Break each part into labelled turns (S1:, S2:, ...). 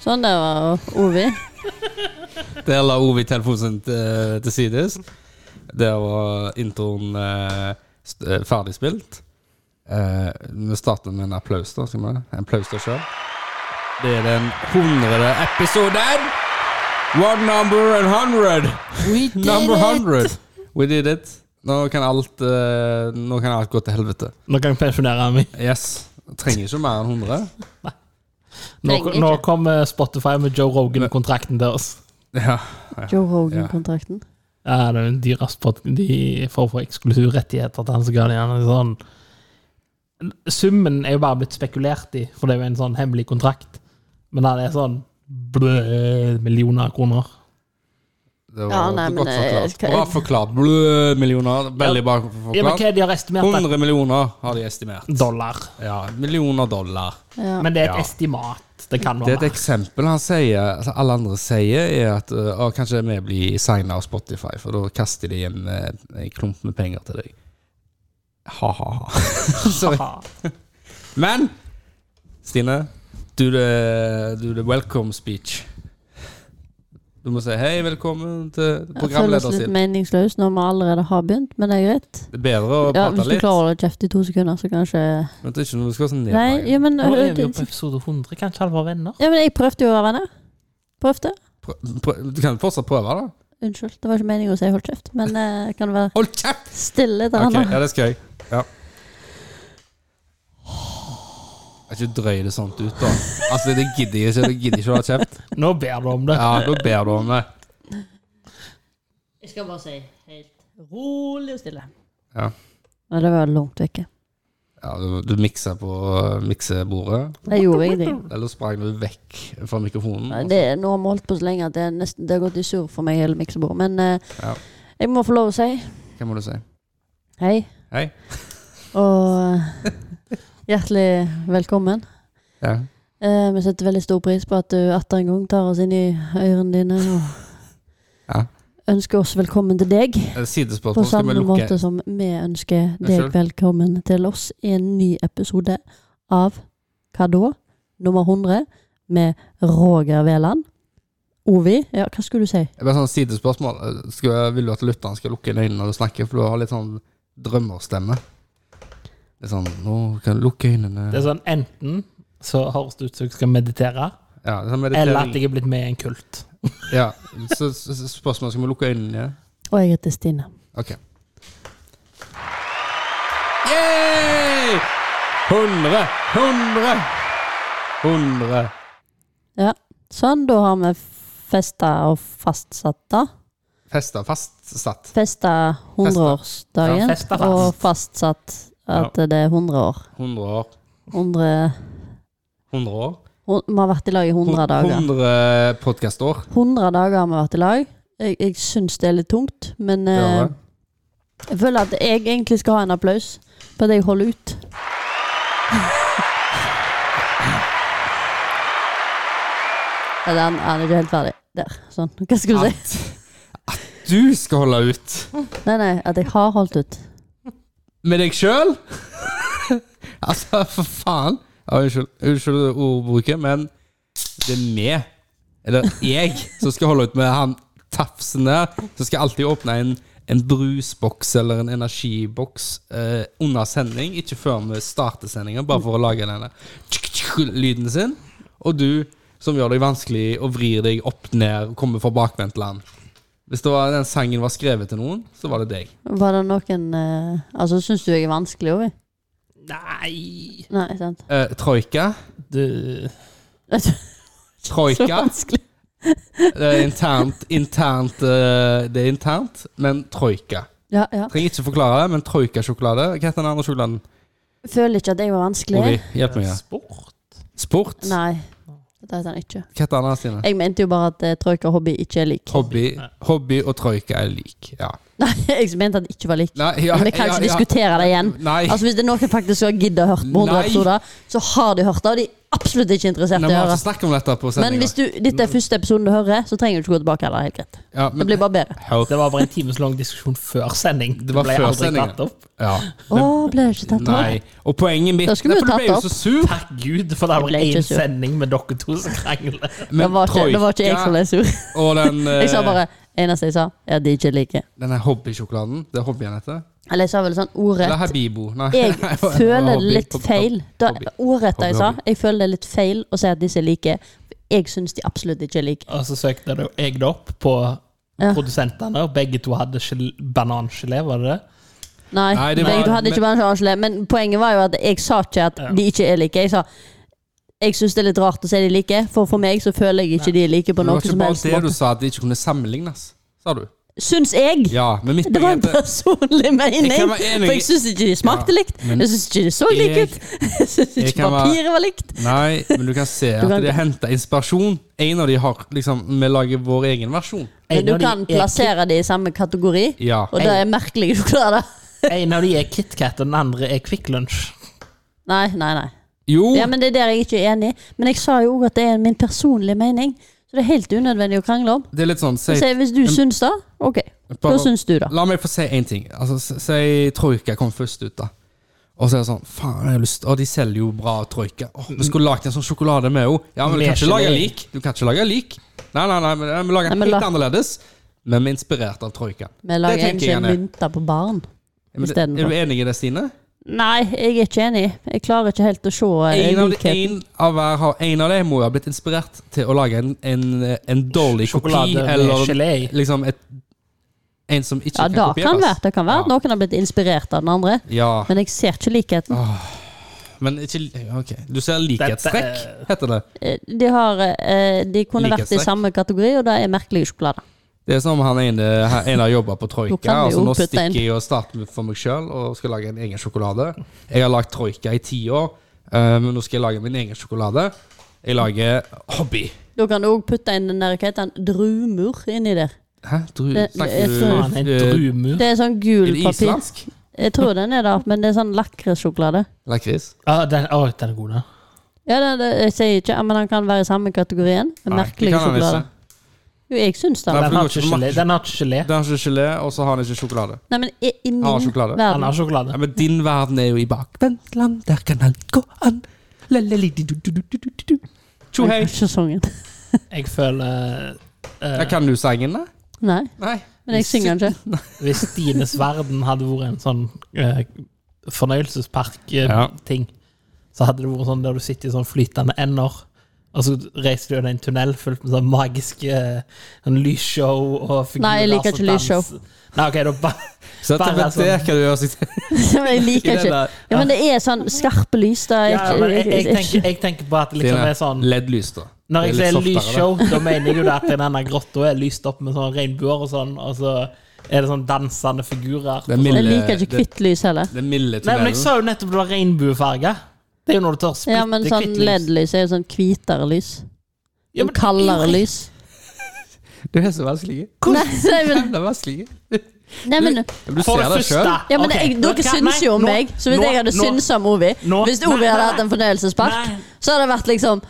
S1: Sånn, det var Ovi.
S2: Der la Ovi telefonen sin til, til sides. Der var introen eh, st- eh, ferdigspilt. Eh, vi starter med en applaus, da. Skal vi det? En applaus til oss selv. Det er den hundrede episoden! One number and hundred!
S1: We did
S2: Number
S1: it!
S2: hundred! We did it. Nå kan alt, eh, nå kan alt gå til helvete.
S3: Nå kan jeg pensjonere meg.
S2: Yes. Trenger ikke mer enn 100.
S3: Nå,
S1: Trenger
S3: nå
S1: ikke.
S3: kommer Spotify med Joe Rogan-kontrakten deres.
S2: Ja.
S1: Joe Rogan-kontrakten.
S3: Ja, det er en dyr spot. De får for eksklusive rettigheter til han som ga det igjen. Sånn. Summen er jo bare blitt spekulert i, for det er jo en sånn hemmelig kontrakt. Men da det er sånn blø, millioner kroner.
S2: Det var
S1: Ja, nei, men,
S2: godt
S1: eh,
S2: forklart.
S1: hva-
S2: Bra forklart. Blø, millioner. Veldig bra
S3: Ja, men
S2: forklart.
S3: hva er det de har estimert?
S2: 100 millioner har de estimert.
S3: da? Dollar.
S2: Ja, millioner dollar.
S1: Ja.
S3: Men det er et
S2: Ja.
S3: estimat. Det kan
S2: Det er
S3: være.
S2: et eksempel han sier, altså alle andre sier, er at øh, «Å, kanskje vi blir signa av Spotify, for da kaster de en, eh, en klump med penger til deg. Ha-ha-ha. Sorry.
S3: Ha.
S2: Men Stine, eh, do the, do the welcome speech. Du må si hei, velkommen til
S1: Jeg føler oss
S2: programlederen
S1: litt
S2: sin.
S1: meningsløs når vi allerede har begynt, men det er greit.
S2: Det er bedre å
S1: Ja,
S2: prate
S1: Hvis du
S2: litt.
S1: klarer å kjefte i to sekunder, så kanskje
S2: Men det er ikke noe du skal sånn
S1: Nei,
S2: nedveie.
S1: ja, men
S3: Nå er vi jo på
S1: Ja,
S3: episode 100. Kanskje alle var venner?
S1: men jeg prøvde jo å være venner. Prøvde.
S2: Prø- prø- Du kan fortsatt prøve, da.
S1: Unnskyld, det var ikke meningen å si hold kjeft, men eh, kan du være
S2: Hold kjeft!
S1: stille der
S2: Ok,
S1: nå?
S2: ja, det skal jeg. Ja. Jeg ikke drøy det sånt ut, da. Altså, det gidder jeg ikke. Det gidder jeg ikke å ha kjeft.
S3: Nå ber du om det.
S2: Ja, da ber du om det.
S1: Jeg skal bare si helt rolig og stille.
S2: Ja,
S1: Nei, det var langt vekke.
S2: ja du, du mikser på øh, miksebordet.
S1: Jeg gjorde ingenting.
S2: Eller sprang du vekk fra mikrofonen?
S1: Nei, Det, nå har vi holdt på så lenge at det, er nesten, det har gått i surr for meg hele miksebordet. Men eh,
S2: Ja.
S1: jeg må få lov å si
S2: Hva må du si?
S1: hei
S2: Hei.
S1: og eh, hjertelig velkommen.
S2: Ja.
S1: Eh, vi setter veldig stor pris på at du atter en gang tar oss inn i ørene dine og
S2: Ja.
S1: ønsker oss velkommen til deg.
S2: Et
S1: På
S2: Sidespørsmål. Skal vi
S1: samme måte
S2: lukke
S1: som vi ønsker deg
S2: Unnskyld.
S1: velkommen til oss i en ny episode av Hva da? Nummer 100 med Roger Veland. Ovi, ja, hva skulle du si?
S2: Det er bare sånn sidespørsmål. Skal, vil du at lytteren skal lukke inn øynene når du snakker? For du har litt sånn drømmerstemme. Det er sånn Nå kan du lukke øynene
S3: Det er sånn enten så høres det ut som jeg skal meditere,
S2: Ja, det er sånn meditering.
S3: eller at jeg er blitt med i en kult.
S2: Ja, så, så så spørsmålet skal vi lukke øynene.
S1: Og jeg heter Stine.
S2: Ok. Yay! 100, 100, 100.
S1: Ja, sånn, da har vi festa og fastsatt da.
S2: Festa fastsatt.
S1: Festa 100-årsdagen
S3: Ja, festa fast.
S1: og fastsatt at det er 100 år.
S2: 100 år.
S1: 100,
S2: 100 år.
S1: hun- vi har vært i lag i 100 dager.
S2: 100 podcastår.
S1: 100 dager har vi vært i lag. Jeg, jeg syns det er litt tungt, men
S2: Det
S1: eh,
S2: var det.
S1: jeg føler at jeg egentlig skal ha en applaus på at jeg holder ut. Ja, Den er ikke helt ferdig. Der. Sånn. Hva skulle du si?
S2: At, at du skal holde ut
S1: Nei, nei, at jeg har holdt ut.
S2: med deg sjøl? altså, for faen. Ja, unnskyld, unnskyld ordbruket, men det er meg, eller jeg, som skal holde ut med han tafsen der, som skal alltid åpne en, en brusboks eller en energiboks eh, under sending, ikke før vi starter sendinga, bare for å lage denne tsk, tsk, lyden sin. Og du som gjør deg vanskelig og vrir deg opp ned og kommer fra bakvendtland. Hvis det var den sangen var skrevet til noen, så var det deg.
S1: Var det noen eh, Altså, syns du jeg er vanskelig, Ovi?
S3: Nei
S1: Nei, sant?
S2: Eh, troika.
S3: Du
S1: Så
S2: Troika.
S1: vanskelig.
S2: Det er internt, internt eh, Det er internt, men troika.
S1: Ja, ja.
S2: Trenger ikke forklare det, men troika-sjokolade Hva heter den andre sjokoladen?
S1: Føler ikke at jeg var vanskelig.
S2: Ovi, hjelp meg. her.
S3: Sport?
S2: Sport? Hva
S1: Nei, det heter han ikke.
S2: heter den andre, Stine?
S1: Jeg mente jo bare at eh, troika og hobby ikke er lik.
S2: Hobby, hobby og troika er lik. Ja.
S1: Nei, jeg mente at det ikke var lik.
S2: Nei, ja,
S1: Men vi kan
S2: ja,
S1: ikke
S2: ja.
S1: diskutere det igjen.
S2: Nei.
S1: Altså Hvis det er noen som faktisk har giddet å høre på 100
S2: Nei.
S1: episoder, så har de hørt det, og de er absolutt ikke interessert
S2: Nei,
S1: i
S2: altså, vi
S1: å
S2: har
S1: høre.
S2: ikke snakket om dette på
S1: Men
S2: sendinga.
S1: hvis du, dette er første episoden du hører, så trenger du ikke gå tilbake heller. Helt greit.
S2: Ja,
S1: Det
S2: men,
S1: blir bare bedre.
S2: hør.
S3: Det var bare en times lang diskusjon før sending.
S2: Det var
S3: ble
S2: før
S3: aldri
S2: sendingen.
S3: tatt opp.
S2: Ja.
S1: Å, ble det ikke tatt av?
S2: Nei. Og poenget mitt
S1: Da skulle vi
S2: Nei, for
S1: tatt
S2: Du ble jo
S1: det
S2: så sur.
S3: Takk Gud, for det
S1: Jeg
S3: var
S1: ble ikke
S3: én
S1: sur.
S3: sending med dere to som krangler.
S1: Det
S2: Men
S1: var ikke, det var ikke jeg som
S2: Troika
S1: ble sur.
S2: og den, eh,
S1: Jeg sa bare eneste jeg sa, er at de ikke liker.
S2: denne hobbysjokoladen Det er hobbyen heter?
S1: Eller jeg sa vel sånn
S2: Eller
S1: ordrett.
S2: Habibo? Nei.
S1: Jeg
S2: Nei, hva-
S1: føler
S2: hobby,
S1: det litt
S2: hobby,
S1: feil. Da,
S2: hobby.
S1: ordrett jeg sa.
S2: Hobby,
S1: Jeg føler det er litt feil å si at disse er like. Jeg syns de absolutt ikke er like.
S3: Og så søkte det- jeg det opp på
S1: Ja.
S3: produsentene, og begge to hadde gel- banangelé, var det det?
S1: Nei,
S2: Nei, det var-
S1: jeg, du hadde ikke bansjeargelé. Men poenget var jo at jeg sa ikke at
S3: Ja.
S1: de ikke er like. Jeg sa jeg syns det er litt rart å si de er like, for for meg så føler jeg ikke de er like på
S2: Men Det
S1: noe
S2: var ikke
S1: som
S2: bare
S1: helst
S2: det du
S1: måte.
S2: sa, at de ikke kunne sammenlignes, sa du.
S1: Syns jeg!
S2: Ja, men mitt
S1: Det var en
S2: poeng er at
S1: personlig mening.
S2: Jeg kan være enig i-
S1: For jeg syns ikke de smakte likt.
S2: men-
S1: Jeg syns ikke de så
S2: Jeg-
S1: like ut. Jeg syns
S2: jeg
S1: ikke
S2: kan være-
S1: papiret var likt.
S2: Nei, men du kan se
S1: Du kan-
S2: at de har henta inspirasjon. En av de har liksom Vi lager vår egen versjon.
S1: Men
S3: En
S1: du
S3: av de
S1: kan
S3: er
S1: plassere de i samme kategori,
S2: Ja.
S1: og det er merkelig du klarer det.
S3: Kit- En av de er KitKat, og den andre er Kvikk Lunsj.
S1: Nei, nei, nei.
S2: Jo,
S1: Ja, men Det er der jeg ikke er enig i. Men jeg sa jo òg at det er min personlige mening. Så det er helt unødvendig å krangle om.
S2: det er litt sånn
S1: Så
S2: si,
S1: sier jeg, hvis du syns det, OK. Hva
S2: Bare-
S1: syns du, da?
S2: La meg få si én ting. Altså, s- Si Troika kom først ut, da. Og så er det sånn Faen, jeg har lyst Og de selger jo bra Troika. Åh, vi skulle lagd en sånn sjokolade med henne. Ja, men du kan
S3: Med
S2: ikke lage
S3: gelé.
S2: lik. Du kan ikke lage lik. Nei, nei, nei, men eh, vi lager
S1: Nei,
S2: den
S1: men
S2: helt
S1: la-
S2: annerledes. Men vi er inspirert av Troika.
S1: Vi lager
S2: tenker
S1: egentlig
S2: jeg gjerne.
S1: mynter på barn.
S2: Men det-
S1: Istedenfor.
S2: Er du enig i det, Stine?
S1: Nei, jeg er ikke enig. Jeg klarer ikke helt å se eh,
S2: En av, de,
S1: likheten.
S2: en, av hver, har- en av dem må jo ha blitt inspirert til å lage en, en, eh, en dårlig kopi,
S3: Sjokolade med
S2: eller
S3: gelé. i.
S2: liksom et, en som ikke
S1: Ja,
S2: kan
S1: da
S2: kopieres.
S1: kan være, det kan være at
S2: Ja.
S1: noen har blitt inspirert av den andre,
S2: Ja,
S1: men jeg ser ikke likheten.
S2: Ah. men ikke Ok, du ser likhetstrekk,
S3: Dette
S2: heter det.
S1: Eh, De, har, eh, de kunne vært i
S2: Likhetstrekk.
S1: samme kategori, og det er merkelig sjokolade.
S2: Det er som han ene en har jobba på
S1: Nå kan
S2: Troika.
S1: vi
S2: Altså,
S1: jo
S2: nå
S1: putte
S2: stikker
S1: inn.
S2: jeg og starter for meg sjøl og skal lage en egen sjokolade. Jeg har lagd Troika i ti år, eh, men nå skal jeg lage min egen sjokolade. Jeg lager hobby.
S1: Da kan du òg putte inn den der, hva heter den, drumur inni der.
S2: Hæ? Dru,
S1: Det- jeg
S2: snakker
S1: tror-
S3: Faen,
S2: du
S3: en
S2: eh,
S3: drumur.
S1: Det er sånn gul
S2: er det
S1: papir.
S2: islandsk?
S1: Jeg tror den er der, men det er sånn lakrissjokolade.
S2: Lakris?
S3: Ah, den, å, den er god, den.
S1: Ja, det, det, jeg sier ikke, men den kan være i samme kategorien.
S2: Nei,
S1: Merkelig
S2: det kan han
S1: sjokolade. Jo, jeg syns det.
S2: Nei, for
S3: Den
S2: det
S3: har
S2: går
S3: ikke
S2: ikke-
S3: gelé. Den har ikke gelé.
S2: ikke. Den har ikke gelé, og så har den ikke sjokolade.
S1: Nei, men i, i min
S2: Har sjokolade.
S3: Den har
S1: verden
S2: Ja,
S3: sjokolade.
S2: men din verden er jo i bakvendtland, der kan alt gå an. La-la-li-di-du-du-du-du-du-du. Tjo hei.
S1: Ikke sesongen.
S3: Jeg føler eh,
S2: Ja, kan du sangen, da?
S1: Nei,
S2: Nei.
S1: men jeg synger den ikke.
S3: Hvis Stines verden hadde vært en sånn eh,
S2: Ja.
S3: fornøyelsespark-ting, så hadde det vært sånn der du sitter i sånn flytende ender, og så reiser du gjennom en tunnel fullt med sånn magiske eh, sånn lysshow og figurer
S1: Nei, jeg liker
S3: som
S1: ikke
S3: danser.
S1: lysshow.
S3: Nei, ok, da ba
S2: Så dette
S3: Bare
S2: vet det
S3: sånn.
S2: kan du gjøre seg til.
S1: Men jeg
S2: I
S1: liker
S2: den
S1: ikke.
S2: der-
S1: Ja, men det er sånn skarpe lys. Da.
S3: ja, men jeg, jeg,
S1: ikke
S3: tenker, jeg tenker på at det liksom
S2: Stine,
S3: er sånn
S2: LED-lys, da.
S3: Når jeg
S2: Det er
S3: sier
S2: litt softere,
S3: lysshow, da mener jeg jo det at denne grotta er lyst opp med sånn regnbuer og sånn, og så er det sånn dansende figurer.
S2: Det er
S3: og sånn.
S1: jeg liker ikke
S2: Det-
S1: hvitt lys heller.
S2: Den milde
S3: Nei, men
S2: tunnelen.
S3: jeg sa jo nettopp det var regnbuefarge. Det er jo når du tar splitte
S1: Ja, men sånn
S3: hvitt lys.
S1: LED-lys er jo sånn hvitere lys.
S3: Ja, men-
S1: Kaldere lys.
S2: Du er så vanskelig.
S1: Nei, nei, men,
S2: Jævla vanskelig.
S1: nei, men
S2: Du
S3: For
S2: ser
S3: det
S2: det sjøl.
S3: første
S1: Ja, men
S3: ok,
S1: jeg,
S3: nå
S1: Dere
S3: skal-
S1: syns
S3: nei,
S1: jo om
S3: nå-
S1: meg. Så hvis
S3: nå-
S1: jeg hadde
S3: nå-
S1: syntes om Ovi
S3: nå-
S1: Hvis
S3: nei,
S1: Ovi hadde
S3: nei,
S1: hatt en fornøyelsespark,
S3: nei.
S1: så hadde det vært liksom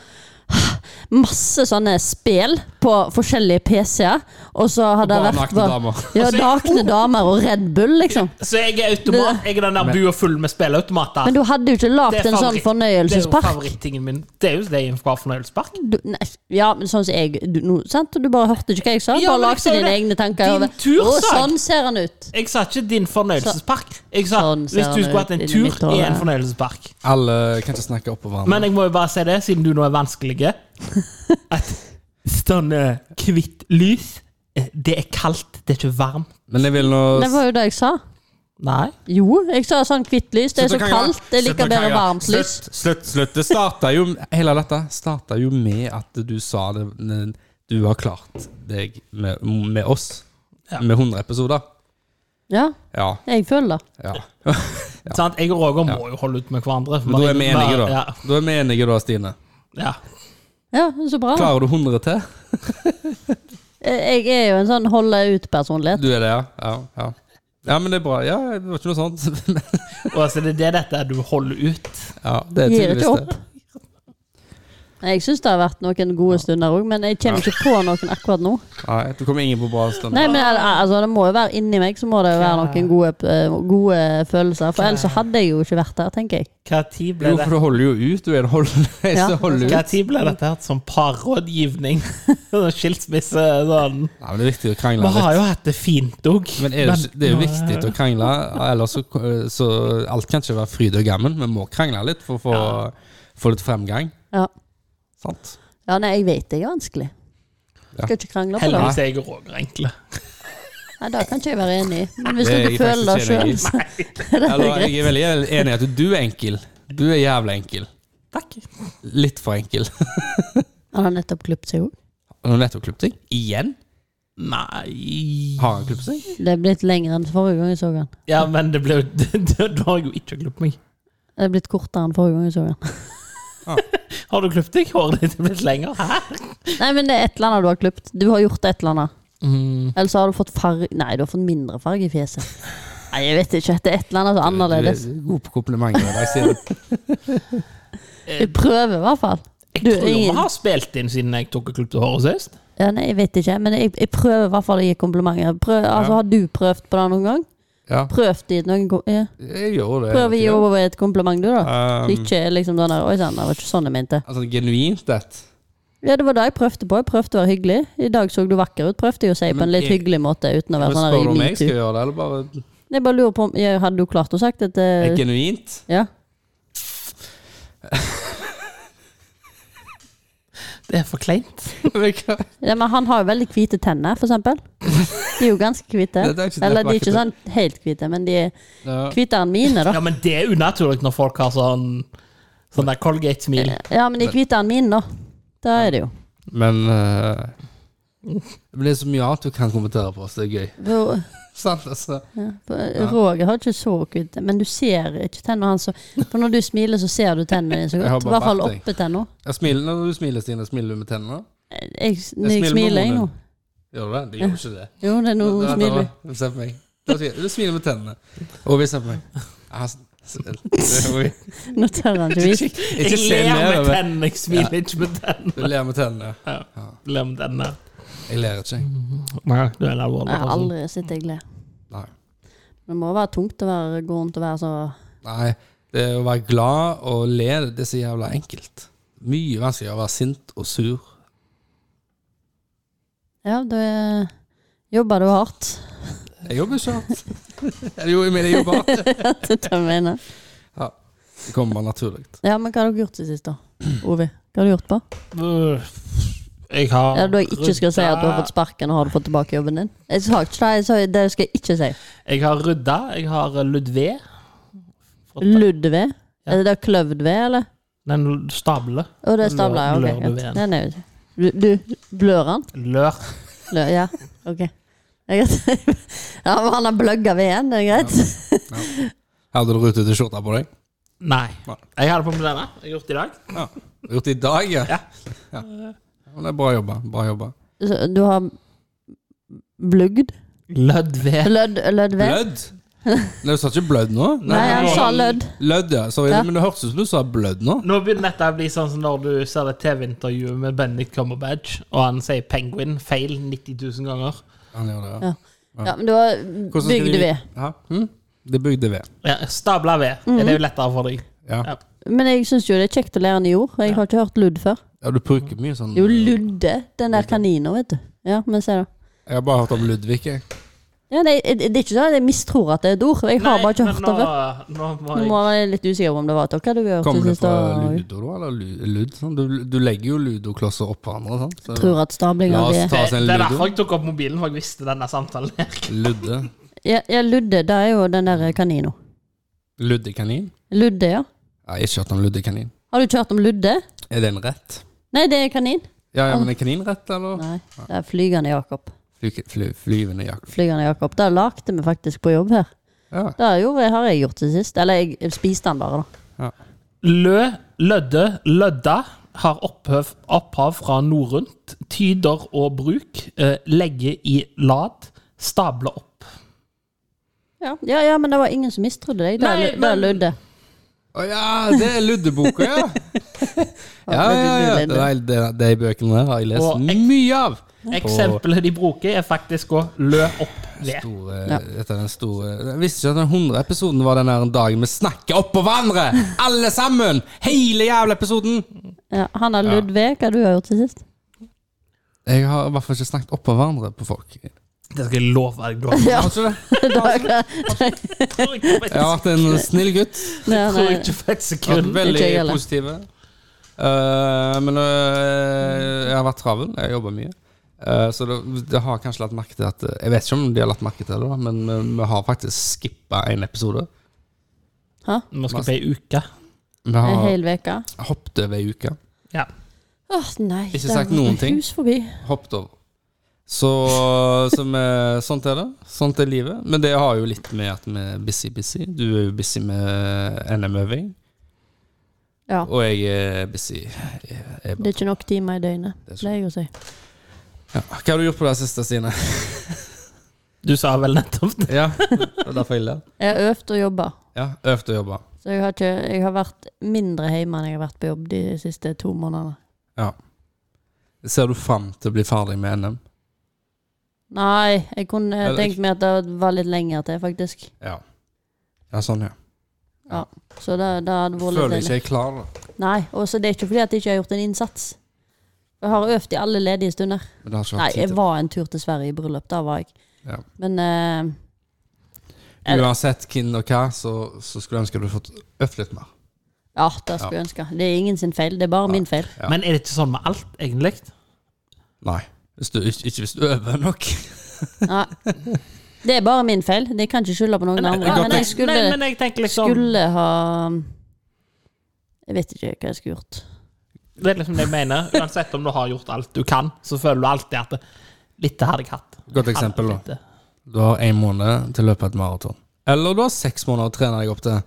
S1: Masse sånne spel på forskjellige PC-er, og så hadde det
S2: Bare
S1: vært
S2: nakne damer.
S1: Ja,
S3: Og så-
S1: nakne damer og Red Bull, liksom.
S3: Så jeg er automat. Jeg er den der bua full med spilleautomater.
S1: Men du hadde jo ikke
S3: Det
S1: lagd
S3: er
S1: en sånn
S3: favoritt- Det er jo
S1: fornøyelsespark.
S3: favorittingen min. Det er jo det i en bra fornøyelsespark.
S1: Du, nei, ja, men sånn som jeg du, nå, sant? Du bare hørte ikke hva jeg sa?
S3: Ja,
S1: bare
S3: men
S1: lagde
S3: jeg sa
S1: dine
S3: det.
S1: egne tanker.
S3: Din
S1: over,
S3: tur,
S1: «Å,
S3: sa jeg.»
S1: sånn ser han ut.
S3: Jeg sa ikke din fornøyelsespark. Jeg sa
S1: Sånn ser
S3: hvis du
S1: det
S3: skulle
S1: ut
S3: hatt en
S1: inni mitt
S3: tur
S1: hår,
S3: i
S1: ja.
S3: en fornøyelsespark.
S2: Alle kan ikke snakke oppå hverandre.
S3: Men jeg må jo bare si det, siden du nå er vanskelig. At sånn eh, hvitt lys eh, Det er kaldt, det er ikke varmt.
S2: Men jeg vil nå
S1: Det var jo det jeg sa.
S3: Nei.
S1: Jo, jeg sa sånn hvitt lys. Det er
S2: Slutt
S1: så
S2: å krangle.
S1: kaldt. Jeg
S2: Slutt
S1: liker
S2: å
S1: bedre
S2: krangle.
S1: varmt lys.
S2: Slutt, slutt, slutt. Det starta jo Hele dette starta jo med at du sa det n- Du har klart deg med, med oss.
S3: Ja.
S2: Med 100 episoder.
S1: Ja,
S2: Ja.
S1: jeg føler det.
S2: ja.
S3: Sant? Jeg og Roger må jo holde ut med hverandre.
S2: Men da er vi enige, da.
S3: Ja,
S2: Da er vi enige da, Stine.
S3: ja.
S1: Ja, så bra. da.
S2: Klarer du 100 til?
S1: Eh, Jeg er jo en sånn holde ut-personlighet.
S2: Du er det, ja? Ja. ja. Ja, men det er bra. Ja, det var ikke noe sånt.
S3: Og altså, det er det dette du holder ut.
S2: ja, det er
S1: Gir ikke
S2: tydeligvis det.
S1: Jeg syns det har vært noen gode stunder òg, men jeg kommer ikke på noen akkurat nå.
S2: Nei, det kommer ingen på bra stund.
S1: Nei, men al- altså, Det må jo være inni meg, så må det jo være noen gode, eh, gode følelser. For ellers så hadde jeg jo ikke vært der, tenker jeg.
S3: Hva tid ble
S2: Jo,
S3: det?
S2: for du holder jo ut. Du er en hold- en
S1: Ja.
S2: som holder ut.
S3: Hva tid ble dette her som parrådgivning? Sånn Skilsmisse sånn.
S2: Nei, men det er viktig å krangle
S3: Vi
S2: litt.
S3: har jo hatt det fint òg.
S2: Men er det, ikke- det er jo viktig å krangle, ellers så, så alt kan ikke være fryd og gammen. Vi må krangle litt for å få, få litt fremgang.
S1: Ja,
S2: Sant?
S1: ja nei, jeg vet det er vanskelig.
S2: Ja.
S1: Skal ikke krangle på det.
S3: Heldigvis er jeg og Roger enkle.
S1: Nei, Det kan ikke jeg være enig i. Men hvis
S2: Det er
S1: dere
S2: jeg
S1: føler det
S2: faktisk
S1: sjøl,
S2: enig i.
S1: så er det
S2: Eller,
S1: greit.
S2: jeg er veldig enig i at du er enkel. Du er jævla enkel.
S3: Takk.
S2: Litt for enkel.
S1: Han har nettopp klippet seg òg.
S2: Har du nettopp klippet deg? Igjen?
S3: Nei
S2: Har han klippet seg?
S1: Det er blitt lenger enn forrige gang jeg så han.
S3: Ja, men det ble jo Du har jeg jo ikke klippet meg.
S1: Det er blitt kortere enn forrige gang jeg så han.
S3: Har du klippet deg? Håret ditt er blitt lenger. Hæ?
S1: Nei, men det er et eller annet du har klippet. Du har gjort et eller annet.
S2: Mm.
S1: Eller så har du fått farge Nei, du har fått mindre farge i fjeset. Nei, jeg vet ikke. Det er et eller annet som er annerledes.
S2: Du er god på komplimenter. Jeg sier det.
S1: Vi prøver i hvert fall.
S3: Jeg
S1: Du,
S3: tror jo vi
S1: ingen-
S3: har spilt inn siden jeg tok og klippet håret sist.
S1: Ja, nei, jeg vet ikke, men jeg, jeg prøver i hvert fall å gi komplimenter. Prøv, altså, har du prøvd på det noen gang?
S2: Ja,
S1: Prøv det noen kom- ja.
S2: jeg gjør det.
S1: Prøv å gi over et kompliment, du, da.
S2: Um,
S1: Så ikke liksom den der Oi sann, det var ikke sånn jeg mente.
S2: altså, genuint et.
S1: Ja, det var det jeg prøvde på. Jeg prøvde å være hyggelig. I dag så du vakker ut. Prøvde jeg å si på
S2: men
S1: en litt
S2: jeg-
S1: hyggelig måte uten å
S2: Men
S1: være sånn der
S2: Spør du
S1: i
S2: om jeg skal
S1: metoo.
S2: gjøre det, eller bare
S1: Jeg bare lurer på om jeg Hadde du klart å sagt at
S2: er
S1: eh,
S2: genuint?
S1: Ja.
S3: Det er for kleint.
S2: Men hva-
S1: ja, men han har jo veldig hvite tenner, for eksempel. De er jo ganske hvite.
S2: Det er ikke- det er
S1: Eller de er ikke
S2: ikke-
S1: sånn helt hvite, men de er
S2: Ja.
S1: hvitere enn mine, da.
S3: Ja, men det er unaturlig når folk har sånn Sånn der Colgate-smil.
S1: Ja, men de er hvitere enn mine, da. Det er det jo.
S2: Men eh, men det er så mye annet du kan kommentere på, så det er gøy.
S1: For,
S2: Sant, altså?
S1: Ja, for eh, Roger har ikke så hvite, men du ser ikke tennene hans. så- For når du smiler, så ser du tennene så
S2: Jeg har
S1: godt. I
S2: bare
S1: hvert fall
S2: vært deg.
S1: oppe tenna.
S2: Jeg smiler når du smiler, Stine. Smiler du med tennene?
S1: Jeg, når jeg
S2: smiler med
S1: smiler, jeg nå.
S2: munnen. Gjør du det? Det gjør ikke det.
S1: Jo, det er noe
S2: Da-
S1: hun
S2: da-
S1: smiler.
S2: da- Se på meg. Da sier jeg, Du smiler med tennene. Og vi ser på meg. Ah, s- s- det- oi.
S1: Nå tør han ikke vise.
S2: Ikke
S3: Jeg
S2: se
S3: ler med
S2: nedover.
S3: tennene, jeg smiler ikke med tennene.
S2: Du ler med tennene.
S3: Ler med tennene.
S2: Jeg ler ikke. jeg.
S3: Nei, du er en alvorlig altså.
S1: Jeg har
S3: person.
S1: aldri sett deg le.
S2: Nei.
S1: Det må være tungt å være, gå rundt og være så
S2: Nei. Det å være glad og le, det er så jævla enkelt. Mye vanskeligere å være sint og sur.
S1: Ja, du eh, jobber du hardt.
S2: Jeg jobber ikke hardt. Eller Jo, jeg mener, jeg jobber hardt.
S1: Det er det jeg mener.
S2: Det kommer bare naturlig.
S1: Ja, men hva har dere gjort siden sist, da? Ovi? Hva har du gjort på?
S3: Jeg har
S1: Ja, da jeg ikke skal si at du har
S3: rydda-
S1: fått sparken og har du fått tilbake jobben din? Jeg sa ikke det, jeg sa, det skal jeg ikke si.
S3: Jeg har rydda. Jeg har eh, Ludvig.
S1: Ludvig?
S3: Ja.
S1: Er det der kløvd ved, eller?
S3: Den stable.
S1: Å, det er stabla, ja.
S3: Blør-
S1: ok. ja.
S3: blør du ved den?
S1: Den er jo du, du blør han?
S3: Lør.
S1: Blør, ja, ok. Det er greit. Ja, men han har bløgga veden, det er greit?
S2: Hadde du rutete skjorte på deg?
S3: Nei.
S2: Nei.
S3: Jeg har det på med denne. Jeg har gjort det i dag.
S2: Ja. Gjort det i dag, ja.
S3: Ja.
S2: Ja. Ja, Men det er bra jobba. Bra jobba.
S1: Så du har blugd?
S3: Ludvig.
S1: Lødd, lødd ved?
S2: Blødd? Nei, du sa ikke blødd nå?
S1: Nei, han
S3: nå-
S1: sa lødd.
S2: Lødd, ja. Sorry,
S1: Ja.
S2: men det hørtes ut som du sa blødd nå.
S3: Nå begynner dette å bli sånn som når du ser det TV-intervjuet med Benedict Cumberbatch, og han sier penguin feil 90 000 ganger.
S2: Han gjør det, ja.
S1: Ja. Ja, men du har
S2: Hvordan skal
S1: bygd
S2: vi-
S1: ved.
S2: Hæ? Hm? Det bygde ved.
S3: Ja, Stabla ved.
S1: Mm.
S3: Er Det er jo lettere for deg.
S2: Ja.
S3: Ja.
S1: Men jeg syns jo det er kjekt å lære nye ord. Jeg har ikke hørt ludd før.
S2: ja, du bruker mye sånn
S1: Det er jo ludde, den der kanina, vet du. Ja, men se da.
S2: Jeg har bare hørt om Ludvig, jeg.
S1: Ja, nei, det det er ikke sånn at jeg mistror at det er et ord. Jeg har
S3: Nei,
S1: bare ikke
S3: men
S1: hørt det før.
S3: Nå, nå må
S1: Nå
S3: jeg
S1: var jeg litt usikker på om det var dere du hørte
S2: eh, Kommer det
S1: sist.
S2: fra
S1: da.
S2: Ludo, da? Eller lu- Lud? Sånn? Du, du legger jo ludoklosser oppå hverandre, sant? Så-
S1: Tror at stablinga
S2: La oss
S1: er
S2: ta oss en
S3: Det er derfor
S2: ludo.
S3: jeg tok opp mobilen, for jeg visste denne samtalen her.
S2: Ludde.
S1: Ja, ja, Ludde, det er jo den der kanina.
S2: Luddekanin?
S1: Ludde, ja.
S2: Jeg har ikke hørt om luddekanin.
S1: Har du ikke hørt om Ludde?
S2: Er det en rett?
S1: Nei, det er kanin.
S2: Ja, ja, men er kanin rett, eller?
S1: Nei, det er Flygende Jakob.
S2: Fly, fly, flyvende jakk.
S1: Flygende Jakob. Det lagde vi faktisk på jobb her.
S2: Ja.
S1: Det gjorde, har jeg gjort til sist. Eller jeg spiste den bare, da.
S3: Lø, lødde, lødda har opphøv, opphav fra norrønt. Tyder og bruk. Eh, legge i lad. Stable opp.
S1: Ja. ja, ja, men det var ingen som mistrodde deg. Det
S3: Nei,
S1: er- det er
S3: men-
S1: Ludde.
S2: Å ja, det er Luddeboka, ja! Ja, ja, ja. Det er, det, det er bøkene der har jeg lest
S3: Og-
S2: mye av.
S3: Eksempelet de bruker, er faktisk å lø opp ved.
S2: Store,
S1: Ja.
S2: dette er den store Jeg visste ikke at den 100 episoden var den der dagen vi snakker oppå hverandre! Alle sammen! Hele jævla episoden!
S1: Ja, han er Ludve, hva du har gjort til sist?
S2: Jeg har i hvert fall ikke snakket oppå hverandre på folk.
S3: Det skal jeg love deg. Glenn.
S1: Ja,
S2: Har ikke det?
S1: da-
S3: Jeg tror ikke på et-
S2: Jeg har vært en snill gutt.
S1: Nei,
S3: jeg tror
S1: nei.
S3: ikke på et
S2: Vært
S3: sekund.
S2: veldig
S1: Ikke jeg heller.
S2: positive. Eh, men eh, jeg har vært travel. Jeg jobber mye. Eh, så det, det har kanskje lagt merke til at Jeg vet ikke om de har lagt merke til det, da, men vi, vi har faktisk skippa en episode.
S3: Nå skal vi på ei uke.
S2: Vi
S1: En
S2: har
S1: hel uke.
S2: hoppet over ei uke.
S3: Ja.
S1: Åh, nei.
S2: Ikke
S1: det
S2: sagt
S1: var
S2: noen ting.
S1: Hus forbi.
S2: Hoppet over. Så, så vi, sånt er det. Sånt er livet. Men det har jo litt med at vi er busy, busy. Du er jo busy med NM-øving,
S1: Ja.
S2: og jeg er busy. Jeg, jeg,
S1: Det er ikke nok timer i døgnet,
S2: Det er sant.
S1: pleier jeg å si.
S2: ja. Hva har du gjort på det siste, Stine?
S3: Du sa vel nettopp det.
S2: Ja, det var derfor jeg ler.
S1: Jeg har øvd og jobba,
S2: Ja, øvd og jobba.
S1: så jeg har, ikke, jeg har vært mindre hjemme enn jeg har vært på jobb de siste to månedene.
S2: Ser du fram til å bli ferdig med NM?
S1: Nei, jeg kunne
S2: Eller
S1: tenkt meg at det var litt lenger til, faktisk.
S2: Ja. Ja, sånn, ja.
S1: Så det, det hadde vært litt
S2: Føler
S1: deilig.
S2: ikke jeg er klar, da.
S1: Nei, og så det er ikke fordi at jeg ikke har gjort en innsats. Jeg har øvd i alle ledige stunder.
S2: Men det har ikke
S1: Nei, jeg
S2: vært tid til
S1: var en tur til Sverige i bryllup, da var jeg.
S2: Ja.
S1: Men eh,
S2: det. Uansett hvem og hva, så, så skulle jeg ønske du hadde fått øvd litt mer.
S1: ja, det skulle jeg ønske. Det er ingen sin feil, det er bare min feil.
S2: Ja.
S3: Men er det ikke sånn med alt, egentlig?
S2: Nei. Hvis du, ikke, ikke hvis du øver nok.
S1: Nei. Det er bare min feil. Det kan ikke skylde på noen andre.
S2: godt
S1: Men jeg skulle,
S3: Nei, men jeg tenker liksom
S1: skulle ha Jeg vet ikke hva jeg skulle gjort.
S3: Det er liksom det jeg mener. Uansett om du har gjort alt du kan, så føler du alltid at det- litt hadde jeg hatt.
S2: Godt eksempel, da.
S3: Litt. eh.
S2: Du har én måned til å løpe et maraton. Eller du har seks måneder å trene deg opp til.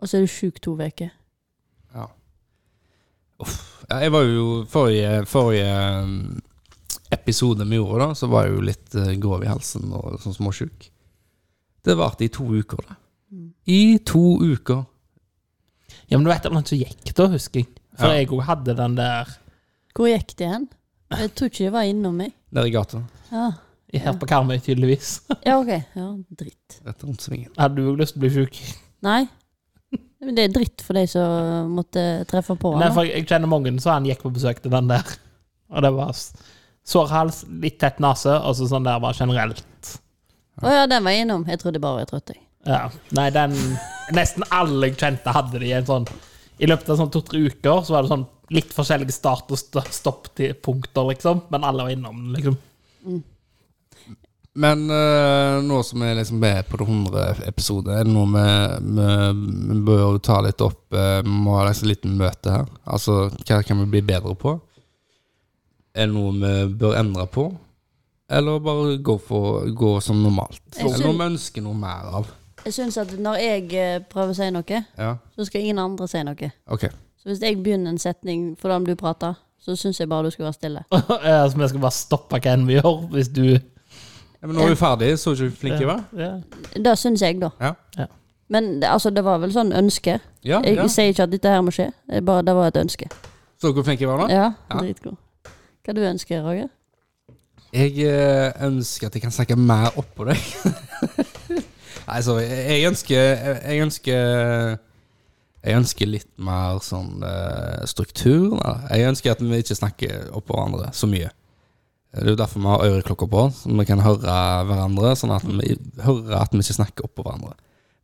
S1: Og så er du sjuk to uker.
S2: Ja. Uff. Ja, jeg var jo Forrige, forrige um, episode vi gjorde, da, så var jeg jo litt eh, grov i halsen og sånn småsjuk. Det varte i to uker, det. I to uker.
S3: Ja, men du vet at noen som gikk da, husker jeg. For
S2: Ja.
S3: jeg òg hadde den der
S1: Hvor gikk det hen? Jeg tror ikke det var innom meg.
S2: Nede i gata.
S1: Ja,
S3: her på Karmøy, tydeligvis.
S1: ja ok. Ja, dritt.
S2: Rett rundt svingen.
S3: Hadde du òg lyst til å bli sjuk?
S1: Nei. Men det er dritt for de som måtte treffe på.
S3: Nei,
S1: han, da.
S3: for jeg kjenner mange så han gikk på besøk til den der. Og det var s- sår hals, litt tett nese, og så sånn der var generelt.
S1: Å ja, den var innom. Jeg trodde bare jeg var trøtt. jeg.
S3: Ja. Nei, den Nesten alle jeg kjente, hadde det i en sånn I løpet av sånn to-tre uker så var det sånn litt forskjellige start- og st- stopp-punkter, liksom. Men alle var innom, liksom.
S2: Men eh, nå som vi liksom er på det 100 episode, er det noe vi, vi, vi bør ta litt opp? eh, Vi må ha et lite møte her. Altså, hva kan vi bli bedre på? Er det noe vi bør endre på? Eller bare gå, for, gå som normalt?
S1: Jeg
S2: Eller noe
S1: syn-
S2: vi ønsker noe mer av?
S1: Jeg syns at når jeg eh, prøver å si noe,
S2: Ja,
S1: så skal ingen andre si noe.
S2: ok.
S1: Så hvis jeg begynner en setning fordi om du prater, så syns jeg bare du skal være stille.
S3: Eh, Så vi skal bare stoppe hva enn vi gjør, hvis du
S2: Ja, men nå er vi ferdige, så er vi ikke flinke, hva?
S3: Ja.
S1: Det syns jeg, da.
S2: Ja.
S3: Ja.
S1: Men det- altså, det var vel sånn ønske.
S2: Ja,
S1: Jeg
S2: ja.
S1: sier ikke at dette her må skje, det, bare, det var et ønske.
S2: Så dere flinke var nå?
S1: Ja,
S2: Ja.
S1: dritgod. Hva du ønsker Roger?
S2: Jeg eh, ønsker at jeg kan snakke mer oppå deg. Nei, sorry. Jeg ønsker Jeg ønsker, jeg ønsker litt mer sånn eh, struktur. Da. Jeg ønsker at vi ikke snakker oppå hverandre så mye. Det er jo derfor vi har øreklokker på, så vi kan høre hverandre. Sånn at vi hører at vi ikke snakker oppå hverandre.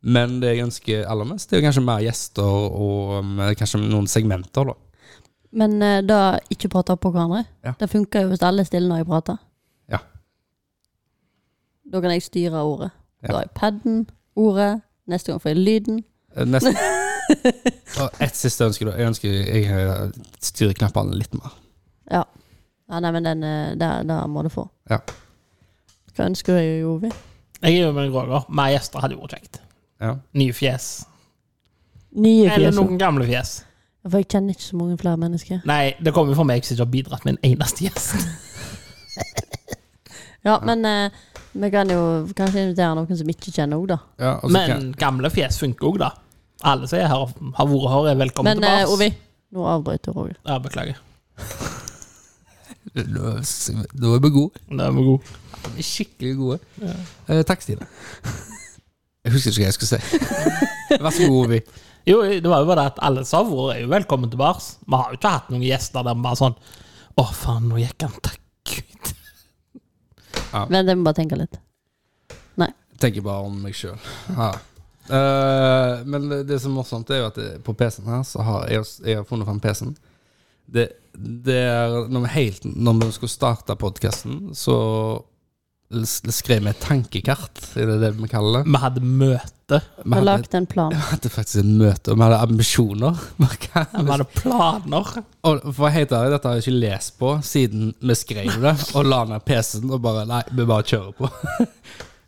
S2: Men det jeg ønsker aller mest, det er jo kanskje mer gjester og mm, kanskje noen segmenter, da.
S1: Men eh, da ikke prate oppå hverandre.
S2: Ja.
S1: Det funker jo hvis alle er stille når jeg prater.
S2: Ja.
S1: Da kan jeg styre ordet.
S2: Ja.
S1: Da har jeg paden, ordet. Neste gang får jeg lyden.
S2: Eh, Nesten. Og ett siste ønske, da. Jeg ønsker jeg eh, styrer knappene litt mer.
S1: Ja. ja nei, men den eh, der, der må du få.
S2: Ja.
S1: Hva ønsker du, Jovi?
S3: Jeg er jo med Roger. Mer gjester hadde jo vært kjekt.
S2: Ja.
S3: Nye fjes.
S1: Nye
S3: Eller
S1: fjes.
S3: noen gamle fjes.
S1: For jeg kjenner ikke så mange flere mennesker.
S3: Nei, det kommer jo fra meg som ikke har bidratt med en eneste gjest.
S1: Ja, men eh, Vi kan jo kanskje invitere noen som ikke kjenner òg, da.
S2: Ja, og så kan-
S3: Men gamle fjes funker òg, da. Alle som er her, og har vært her, er velkommen
S1: Men eh,
S3: tilbake.
S1: Ovi, nå avbryter Roger.
S3: Ja, beklager.
S2: Nå er vi gode.
S3: Det var god.
S2: Vi er skikkelig gode.
S3: Ja.
S2: Eh, takk, Stine. Jeg husker ikke hva jeg skulle si. Vær så god, Ovi.
S3: Jo, det var jo bare det at alle som har vært, er jo velkommen tilbake. Vi har jo ikke hatt noen gjester der vi bare sånn Å, faen, nå gikk han. Takk Gud.
S1: Vent, jeg må bare tenke litt.
S2: Tenker bare om meg sjøl. Ja. Eh, men det, det som er morsomt, er jo at det, på PC-en her, så har jeg, jeg har funnet fram PC-en. Det, det er når vi, helt, når vi skulle starte podkasten, så l- skrev vi et tankekart, er det det vi kaller det?
S3: Vi hadde møte.
S2: Vi
S1: Vi
S2: hadde,
S1: lagde en plan.
S2: vi hadde faktisk et møte, og vi hadde ambisjoner.
S3: Vi hadde planer.
S2: Og for å hete ærlig, dette har jeg ikke lest på siden vi skrev det, og la ned PC-en og bare Nei, vi bare kjører på.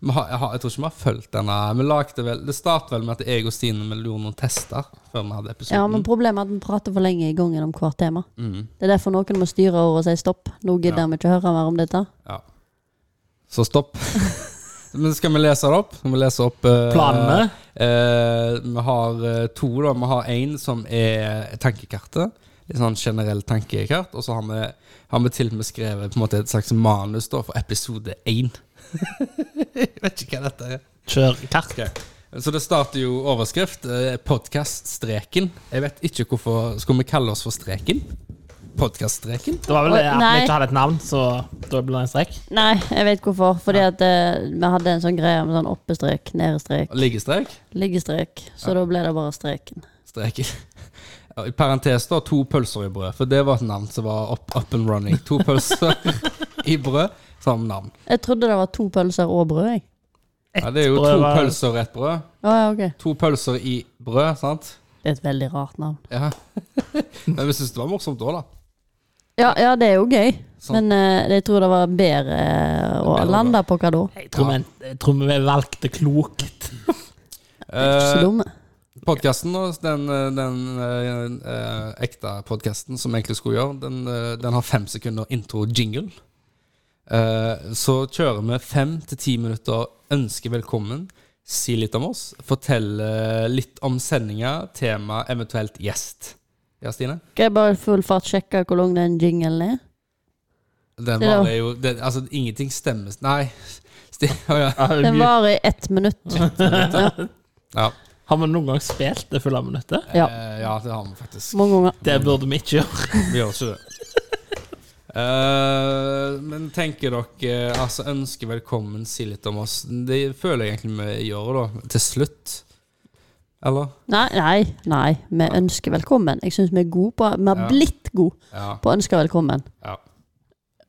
S2: Vi har, jeg, har, jeg tror ikke vi har fulgt denne. Vi lagde vel, det startet vel med at jeg og Stine vi gjorde noen tester før vi hadde episoden.
S1: Ja, men Problemet er at vi prater for lenge i gangen om hvert tema.
S2: Mm,
S1: Det er derfor noen må styre over og si stopp. Nå gidder
S2: Ja.
S1: vi ikke høre mer om dette.
S2: ja. Så stopp. men skal vi lese det opp? Skal vi lese opp eh,
S3: Planene.
S2: Eh, vi har eh, to, da. Vi har én som er tankekartet. Litt sånn generell tankekart. Og så har vi, har vi til og med skrevet på en måte et slags manus da, for episode én. Jeg vet ikke hva dette er.
S3: Kjør kart.
S2: Så det starter jo overskrift. Eh, Podkaststreken. Jeg vet ikke hvorfor Skulle vi kalle oss for Streken? Podkaststreken?
S3: Det var vel
S1: Oi,
S3: det at
S1: nei.
S3: vi ikke hadde et navn, så da ble det en strek.
S1: Nei, jeg vet hvorfor. Fordi at eh, vi hadde en sånn greie med sånn oppestrek, nedestrek,
S2: Liggestrek?
S1: liggestrek. Så da ble det bare streken.
S2: Streken. Ja, I parentes da, to pølser i brød. For det var et navn som var up, up and running. To pølser i brød som navn.
S1: Jeg trodde det var to pølser og brød, jeg.
S2: Ja, det er jo
S3: brød
S2: to
S3: var-
S2: pølser og ett brød.
S1: Å, ja, ok.
S2: To pølser i brød, sant?
S1: Det er et veldig rart navn.
S2: Ja. Men vi syns det var morsomt òg, da.
S1: Ja, ja det er jo gøy,
S2: Sånn.
S1: men eh, jeg tror det var bedre eh, å
S2: Bedre,
S1: lande på hva da.
S3: Jeg tror, vi, jeg tror vi valgte klokt.
S1: Ikke så
S2: Eh,
S1: dumme.
S2: podkasten, den, eh, den eh, eh, ekte podkasten som vi egentlig skulle gjøre, den, eh, den har fem sekunder intro-jingle. Eh, så kjører vi fem til ti minutter ønske velkommen, si litt om oss, fortelle litt om sendinga, tema, eventuelt gjest. Ja, Stine?
S1: Skal jeg bare i full fart sjekke hvor lang den jinglen er?
S2: Den
S1: Ja.
S2: varer jo den, Altså, ingenting stemmer Nei. Sti- Å, ja.
S1: Den varer i ett minutt.
S2: Ja.
S3: Har vi noen gang spilt det fulle minuttet?
S1: Ja.
S2: Eh, ja, det har vi faktisk.
S1: Mange ganger.
S3: Det burde vi ikke gjøre.
S2: Vi gjør ikke det. Eh, men tenker dere Altså, ønske velkommen, si litt om oss. Det føler jeg egentlig vi gjør, da. Til slutt. Eller?
S1: Nei, nei, nei. Vi ønsker velkommen. Jeg syns vi er gode på Vi har
S2: Ja.
S1: blitt gode
S2: Ja.
S1: på å ønske velkommen.
S2: ja.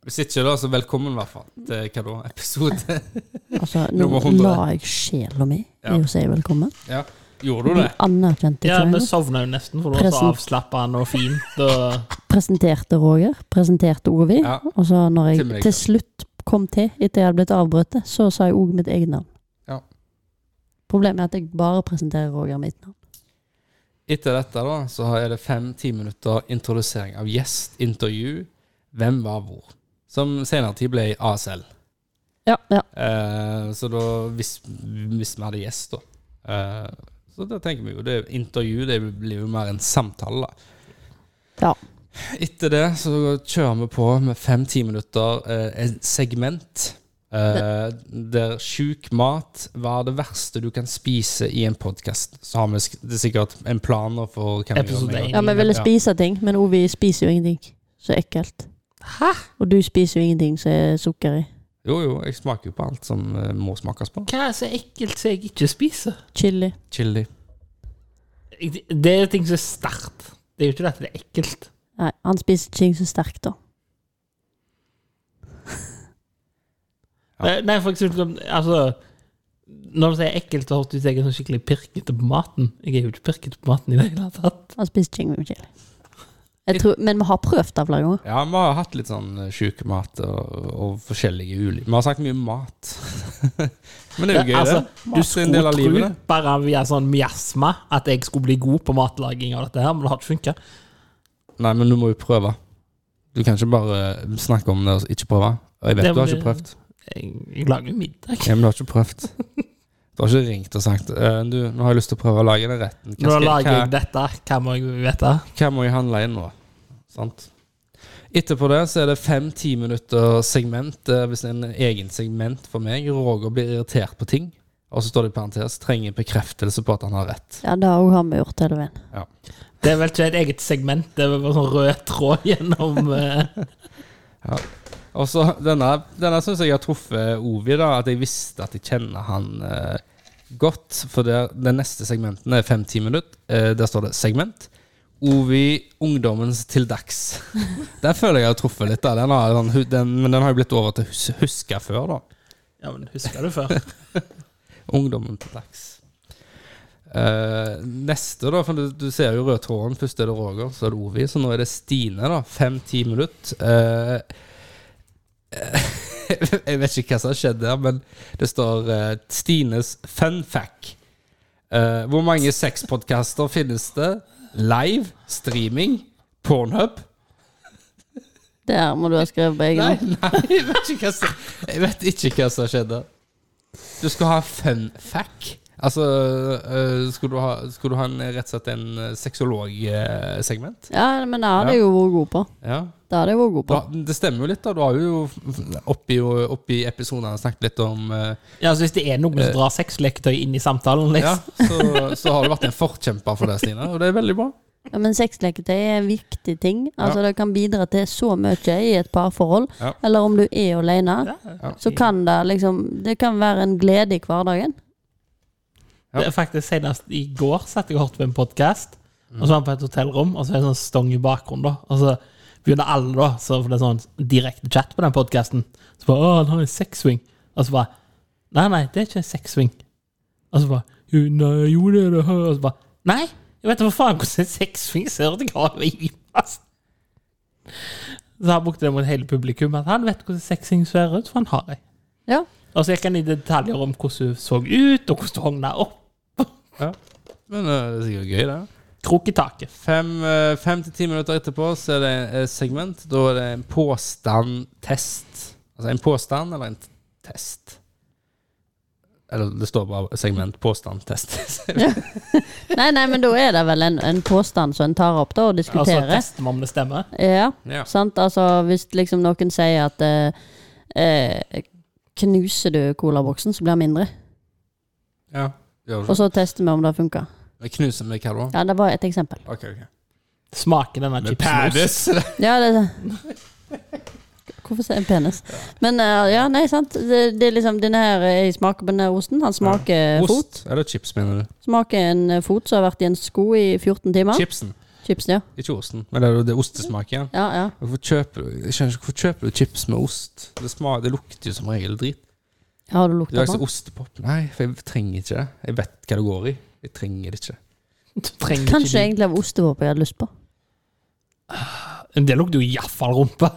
S2: Hvis ikke, da, så velkommen, i hvert fall. Til hva da? Episode
S1: Altså, nå
S2: Nummer 100.
S1: la jeg sjela mi i
S2: Ja.
S1: å si velkommen.
S2: Ja. Gjorde du
S1: Du
S2: det?
S1: anerkjente
S3: Ja,
S1: ikke
S3: Vi
S1: engang.
S3: sovna jo nesten, for det var så
S1: Presen.
S3: avslappende og fint. Og
S1: Presenterte Roger, presenterte Ovi.
S2: Ja.
S1: Og så når
S2: Til
S1: jeg
S2: meg, ikke
S1: til slutt kom til, etter jeg hadde blitt avbrutt, så sa jeg òg mitt eget navn.
S2: Ja.
S1: Problemet er at jeg bare presenterer Roger mitt navn.
S2: Etter dette, da, så har- er det fem-ti minutter introdusering av gjest, intervju, hvem var hvor. Som senere tid ble ASL.
S1: Ja, ja.
S2: Eh, så da, hvis, hvis vi hadde gjest, da. Eh, så da tenker vi jo det Intervju det blir jo mer en samtale. da.
S1: Ja.
S2: Etter det så kjører vi på med fem-ti minutter eh, et segment eh, der sjuk mat Hva er det verste du kan spise i en podkast? Så har vi sk- det er sikkert en plan nå for hva vi gjør
S3: Episode
S2: med en gang.
S3: én.
S1: ja vi ville spise ting, men Ovi spiser jo ingenting. Så ekkelt.
S3: Hæ?
S1: Og du spiser jo ingenting som er sukker i.
S2: Jo, jo, jeg smaker jo på alt som eh, må smakes på.
S3: Hva er så ekkelt som jeg ikke spiser?
S1: Chili.
S2: Chili.
S3: Jeg- Det er ting som er sterkt. Det er jo ikke det at det er ekkelt.
S1: Nei, han spiser ikke ting så sterkt, da.
S2: Ja.
S3: Eh, Nei, for eksempel, altså Når du sier ekkelt, så høres det ut som jeg er sånn skikkelig pirkete på maten. Jeg er jo ikke pirkete på maten i det hele tatt.
S1: Han spiser ikke ting med chili. Jeg tror, men vi har prøvd det flere ganger.
S2: Ja, vi har hatt litt sånn eh, sjuk mat og, og forskjellige ulike Vi har sagt mye om mat. Men det er jo gøy,
S3: Altså,
S2: det. Mat er en del av livet. det.
S3: bare via sånn miasma at jeg skulle bli god på matlaging av dette her, men det har ikke funka.
S2: Nei, men du må jo prøve. Du kan ikke bare eh, snakke om det og ikke prøve. Og jeg vet
S3: Det
S2: du har
S3: blir-
S2: ikke prøvd.
S3: Jeg, jeg lager jo middag.
S2: Ja, men du har ikke prøvd. Du har ikke ringt og sagt «Eh, du, 'Nå har jeg lyst til å prøve å lage den retten'. Hva,
S3: Nå
S2: skal,
S3: lager jeg
S2: hva,
S3: dette. Hva må jeg vite?
S2: hva må jeg handle inn nå? Sant? Etterpå det så er det fem-ti minutter segment. eh, Hvis det er en egen segment for meg. Roger blir irritert på ting. Og så står det i parentes 'trenger bekreftelse på at han har rett'.
S1: Ja, det har jo han vi gjort hele veien.
S3: Det er vel ikke et eget segment. Det er vel bare sånn rød tråd gjennom eh,
S2: Og så Denne, denne syns jeg har truffet Ovi, da. At jeg visste at jeg kjenner han eh, godt. For det, den neste segmenten er fem-ti minutter. Eh, der står det 'segment'. Ovi, ungdommens til dags. Den føler jeg har truffet litt. da. Den har, den, hu- den, men den har jo blitt over til hus, huska før, da.
S3: Ja, men husker du før?
S2: Ungdommen til dags. Eh, neste, da. For du, du ser jo rød tråden. Først er det Roger, så er det Ovi. Så nå er det Stine, da. Fem-ti minutter. Eh, jeg vet ikke hva som har skjedd der, men det står eh, Stines fun fact. Eh, hvor mange sexpodkaster finnes det? Live? Streaming? Pornhub?
S1: Der må du ha skrevet på egen
S2: Nei,
S1: hånd.
S2: nei, jeg vet ikke hva som, jeg vet ikke hva som skjedde. Du skal ha fun fact. Altså, øh, skulle du ha, skulle du ha en, rett og slett en øh, sexologsegment?
S1: Ja, men det hadde jeg jo vært god på.
S2: Ja.
S1: Det hadde jeg vært god
S2: Du,
S1: på.
S2: har- det stemmer jo litt, da. Du har jo oppi, oppi episodene snakket litt om øh,
S3: Ja, så Hvis det er noen som drar sexleketøy inn i samtalen
S2: Eh. Ja,
S3: liksom.
S2: så, så har du vært en forkjemper for det, Stine, og det er veldig bra.
S1: Ja, men sexleketøy er en viktig ting. Altså, Det kan bidra til så mye i et parforhold.
S2: Ja.
S1: Eller om du er alene.
S2: Ja.
S1: Så kan det liksom Det kan være en glede i hverdagen.
S2: Ja.
S3: Det er faktisk Senest i går satt jeg og hørte på en podkast. Og så var han på et hotellrom, og så er det en sånn stong i bakgrunnen. da Og så begynner alle, da, så for det er sånn direkte chat på den podkasten. Så bare 'Å, han har en sexswing'. Og så bare 'Nei, nei, det er ikke en sexswing'. Og så bare «Jo, 'Nei, jo, det er det'. her». Og så bare 'Nei, jeg vet da for faen hvordan en sexswing ser ut'. Jeg har jo i pass. Så han brukte det mot hele publikum, at han vet hvordan sexswing ser ut, for han har ei.
S1: Ja.
S3: Og så gikk han i detaljer om hvordan hun så ut, og hvordan hun hogna opp.
S2: Men øh, det er sikkert gøy, det.
S3: Krok i taket.
S2: Fem, eh, fem til ti minutter etterpå så er det et segment. Da er det en påstand-test. Altså en påstand eller en t- test. Eller det står bare segment påstand-test.
S1: Nei, nei, men da er det vel en, en påstand som en tar opp da og
S3: Altså
S1: diskuterer.
S3: tester vi om det stemmer.
S1: ja,
S2: ja.
S1: sant? Altså, hvis liksom noen sier at eh, eh, Knuser du colaboksen, så blir den mindre.
S2: ja. Gjør
S1: Og
S2: det.
S1: så tester vi om det funker.
S2: Vi knuser med hva da?
S1: Ja, det var et eksempel.
S2: Ok, ok.
S3: Smaker denne
S2: Med
S3: chipsen ost?
S1: Ja, det Hvorfor sier jeg penis? Men eh, ja, nei, sant. Det, det er liksom denne her eh, Jeg smaker på denne osten. Han smaker Eh, fot.
S2: Ost? Eller chips, mener du?
S1: Smaker en eh, fot som har vært i en sko i 14 timer.
S2: Chipsen.
S1: Chipsen, ja.
S2: Ikke osten. Men det er jo det ostesmaken.
S1: Ja, ja.
S2: Hvorfor kjøper, du- jeg skjønner ikke, hvorfor kjøper du chips med ost? Det, sma- det lukter jo som regel drit.
S1: Har du
S2: Du har
S1: lukta
S2: ikke
S1: på? den?
S2: ostepop? Nei, for jeg trenger ikke det. Jeg vet hva det går i. Jeg trenger det ikke.
S3: Du trenger ikke
S1: Kanskje
S3: de-
S1: egentlig av ostevåpen jeg hadde lyst på.
S3: Det lukter jo iallfall rumpe.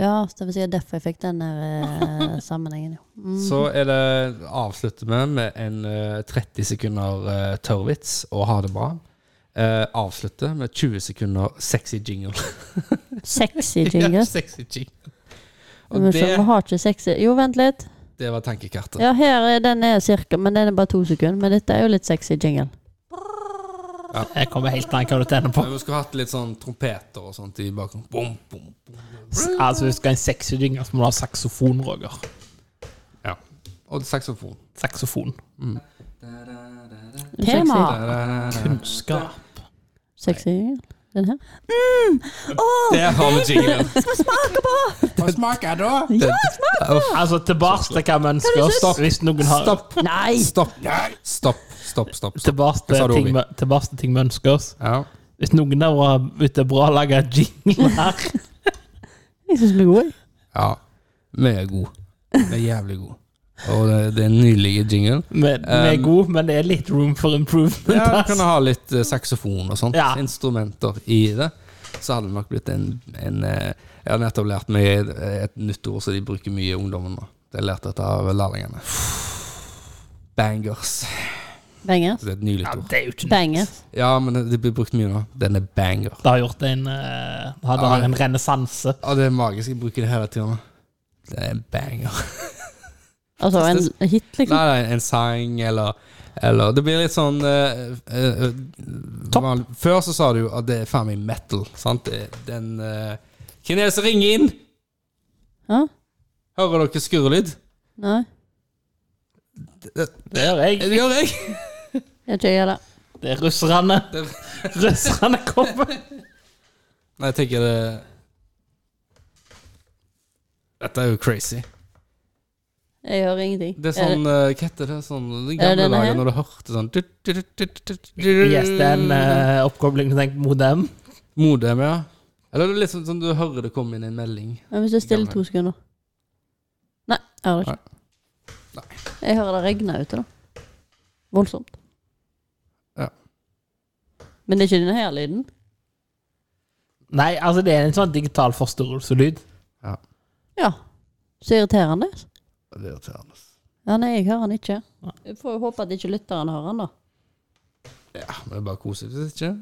S1: Ja, det vil si derfor jeg fikk den der eh, sammenhengen, jo. Mm.
S2: Så er det avslutter vi med en eh, 30 sekunder eh, tørrvits og ha det bra. Eh, avslutter med 20 sekunder sexy jingle.
S1: Sexy jingle.
S2: sexy jingle.
S1: Men
S2: Og
S1: så Vi
S2: det,
S1: har ikke sexy Jo, vent litt.
S2: det var tankekartet.
S1: Ja, her er den er cirka, men den er bare to sekunder. Men dette er jo litt sexy jingle.
S3: Jeg kommer helt an hva du tenner på.
S2: Men Vi skulle hatt litt sånn trompeter og sånt i bakgrunnen. Bom, bom, bom.
S3: Altså Hvis du skal ha en sexy jingle, så må du ha saksofon, Roger.
S2: Ja. Og saksofon.
S3: Saksofon.
S1: Tema!
S3: Kunnskap.
S1: Sexy jingle. Den her.
S2: Mm! Der har vi jinglen. Hva smaker da? Ja,
S3: Altså tilbake til hva vi ønsker oss. Hvis noen har
S2: Stopp.
S1: Nei!
S2: Stopp. Stopp, stopp, stopp. stopp.
S3: Tilbake
S2: Hva sa
S3: til
S2: du,
S3: ting
S2: Ovi?
S3: vi- tilbake til ting vi ønsker oss.
S2: Ja.
S3: Hvis noen har vært ute bra og laga jingler
S1: Jeg syns vi er gode.
S2: Ja, vi er gode. Vi er jævlig gode. Og det, det er en nylig jingle.
S3: Vi vi er gode, men det er litt room for improvement.
S2: Um, Ja, du
S3: ass.
S2: kan ha litt eh, saksofon og sånt.
S3: Ja.
S2: Instrumenter i det. Så hadde det nok blitt en, en eh, Jeg har nettopp lært meg et, et nytt ord som de bruker mye i ungdommen nå. Det har jeg lært dette av lærlingene. Bangers.
S1: Bangers.
S2: Det er et nylig
S3: Ja,
S2: ord.
S3: det er jo ikke
S1: Bangers.
S2: Ja, men det- det blir brukt mye nå. Den er banger.
S3: Det har gjort en eh, Hadde
S2: Ja,
S3: han
S2: ja.
S3: en renessanse.
S2: Ja, det er magisk. Jeg bruker det hele tiden. Det er en banger.
S1: Altså en hit, liksom.
S2: Nei, nei, en sang, eller eller Det blir litt sånn eh, eh, eh,
S3: Topp.
S2: van- Før så sa du jo at det er faen meg metal, sant? Det, den eh, Hvem er det som ringer inn?
S1: Ja?
S2: Hører dere skurrelyd?
S1: Nei?
S3: Det gjør jeg.
S2: Det gjør jeg.
S1: Jeg tror jeg gjør det.
S3: Det er russerne. Russerne kommer.
S2: Nei, jeg tenker det Dette er jo crazy.
S1: Jeg hører ingenting.
S2: Det er
S1: Er
S2: sånn eh, Hva heter det? Sånn, den
S1: Er det
S2: gamle
S1: denne her?
S2: dagen når du hørte sånn tut, tut, tut, tut, tut,
S3: Yes, det er en eh, oppkobling tenk, mot dem.
S2: Modem, ja. Eller det er liksom sånn du hører det komme inn en melding.
S1: Men hvis jeg stiller to sekunder Nei, jeg hører det ikke.
S2: Nei.
S1: Jeg hører det regner ute, da. Voldsomt.
S2: Ja.
S1: Men det er ikke denne her lyden?
S3: Nei, altså det er en sånn digital forstørrelselyd.
S1: Ja. Så irriterende.
S2: Det er irriterende.
S1: Ja, nei, jeg hører den ikke. Jeg får jo håpe at ikke lytteren hører den, da.
S2: Ja, Ah, men det er bare koselig, hvis ikke?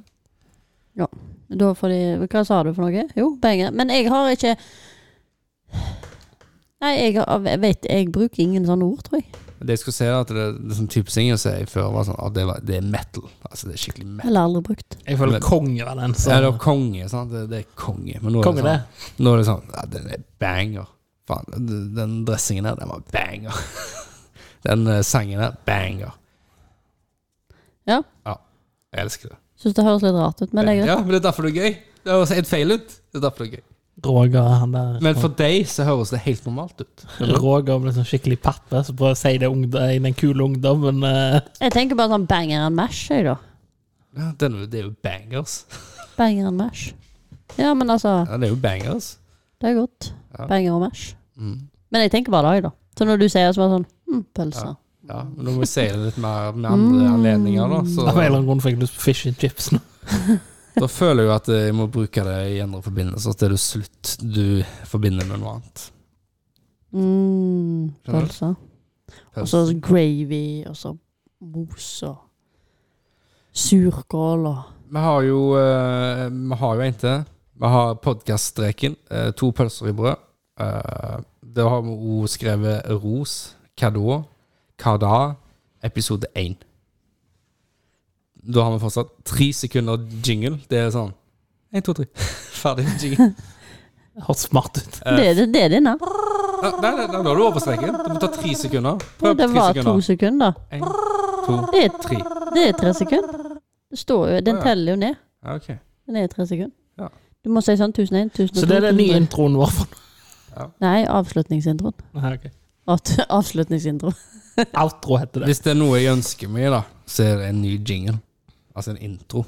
S1: Da får de Hva sa du for noe? Jo, penger. Men jeg har ikke Nei, jeg, har, jeg vet Jeg bruker ingen sånne ord, tror jeg.
S2: Det jeg skulle si, er at det, det er sånn type ting jeg sier før var sånn at det, var, det er metal. Altså, det er skikkelig metal.
S1: Eller aldri brukt.
S3: Jeg føler
S2: Men-
S3: kongen av den.
S2: Så er det
S3: Så.
S2: konge, sant? Det, det er konge. Men nå er,
S3: Kongen
S2: det
S3: er.
S2: sånn, nå er det sånn Ja, den er banger. Faen, den- den dressingen her, den var banger. Den eh, sangen her, banger.
S1: Ja.
S2: Ja. Jeg elsker det.
S1: Syns det høres litt rart ut, men det er greit.
S2: Ja, men det er derfor det er gøy. Det høres helt feil ut. Det er derfor det er gøy.
S3: Roger han der.
S2: Men for deg så høres det helt normalt ut.
S3: Roger ble sånn skikkelig pappe, så prøver jeg å si det ungd- i den kule ungdommen. eh,
S1: Jeg tenker bare sånn banger and mash, jeg, da.
S2: Ja, den er jo- det er jo bangers.
S1: Banger and mash. Ja, men altså,
S2: Ja, det er jo bangers.
S1: det er godt.
S2: Ja.
S1: Banger og mash.
S2: Mm.
S1: Men jeg tenker bare det, jeg, da. Så når du sier det, så bare sånn hm, pølser.
S2: Ja, men nå må vi si det litt mer med andre anledninger, da.
S3: Av en eller
S2: Så
S3: annen grunn fikk jeg lyst på fish and chips nå.
S2: da føler jeg jo at jeg må bruke det i andre forbindelser. At det er jo slutt du forbinder med noe annet.
S1: Mm,
S2: Skjønner du?
S1: pølser. Og så gravy, og så mos og surkål og
S2: Vi har jo eh, Vi har jo en til. Vi har podkaststreken. eh, to pølser i brød. Uh, der har vi òg skrevet ros, hva da, hva da, episode én. Da har vi fortsatt tre sekunder jingle. Det er sånn én, to, tre. Ferdig med jingle.
S3: Det Høres smart ut.
S2: Eh,
S1: Det, det, det er denne.
S2: Nei, nei, nei, nå er du over på streken. Det må ta tre sekunder.
S1: Og
S2: Prøv
S1: det
S2: tre
S1: var to sekunder.
S2: sekunder. Én, to,
S1: Det er,
S2: tre.
S1: det er tre sekunder. Det står jo, den
S2: Å, ja.
S1: teller jo ned.
S2: Ja, ok.
S1: Den er tre sekunder.
S2: Ja.
S1: Du må si sånn 1001, 1002
S3: Så det er den nye
S1: 1003.
S3: introen vår. for-
S1: Nei, avslutningsintroen.
S3: Nei, ok.
S1: At, avslutningsintro.
S3: Outro heter det.
S2: Hvis det er noe jeg ønsker meg, da, så er det en ny jingle. Altså en intro.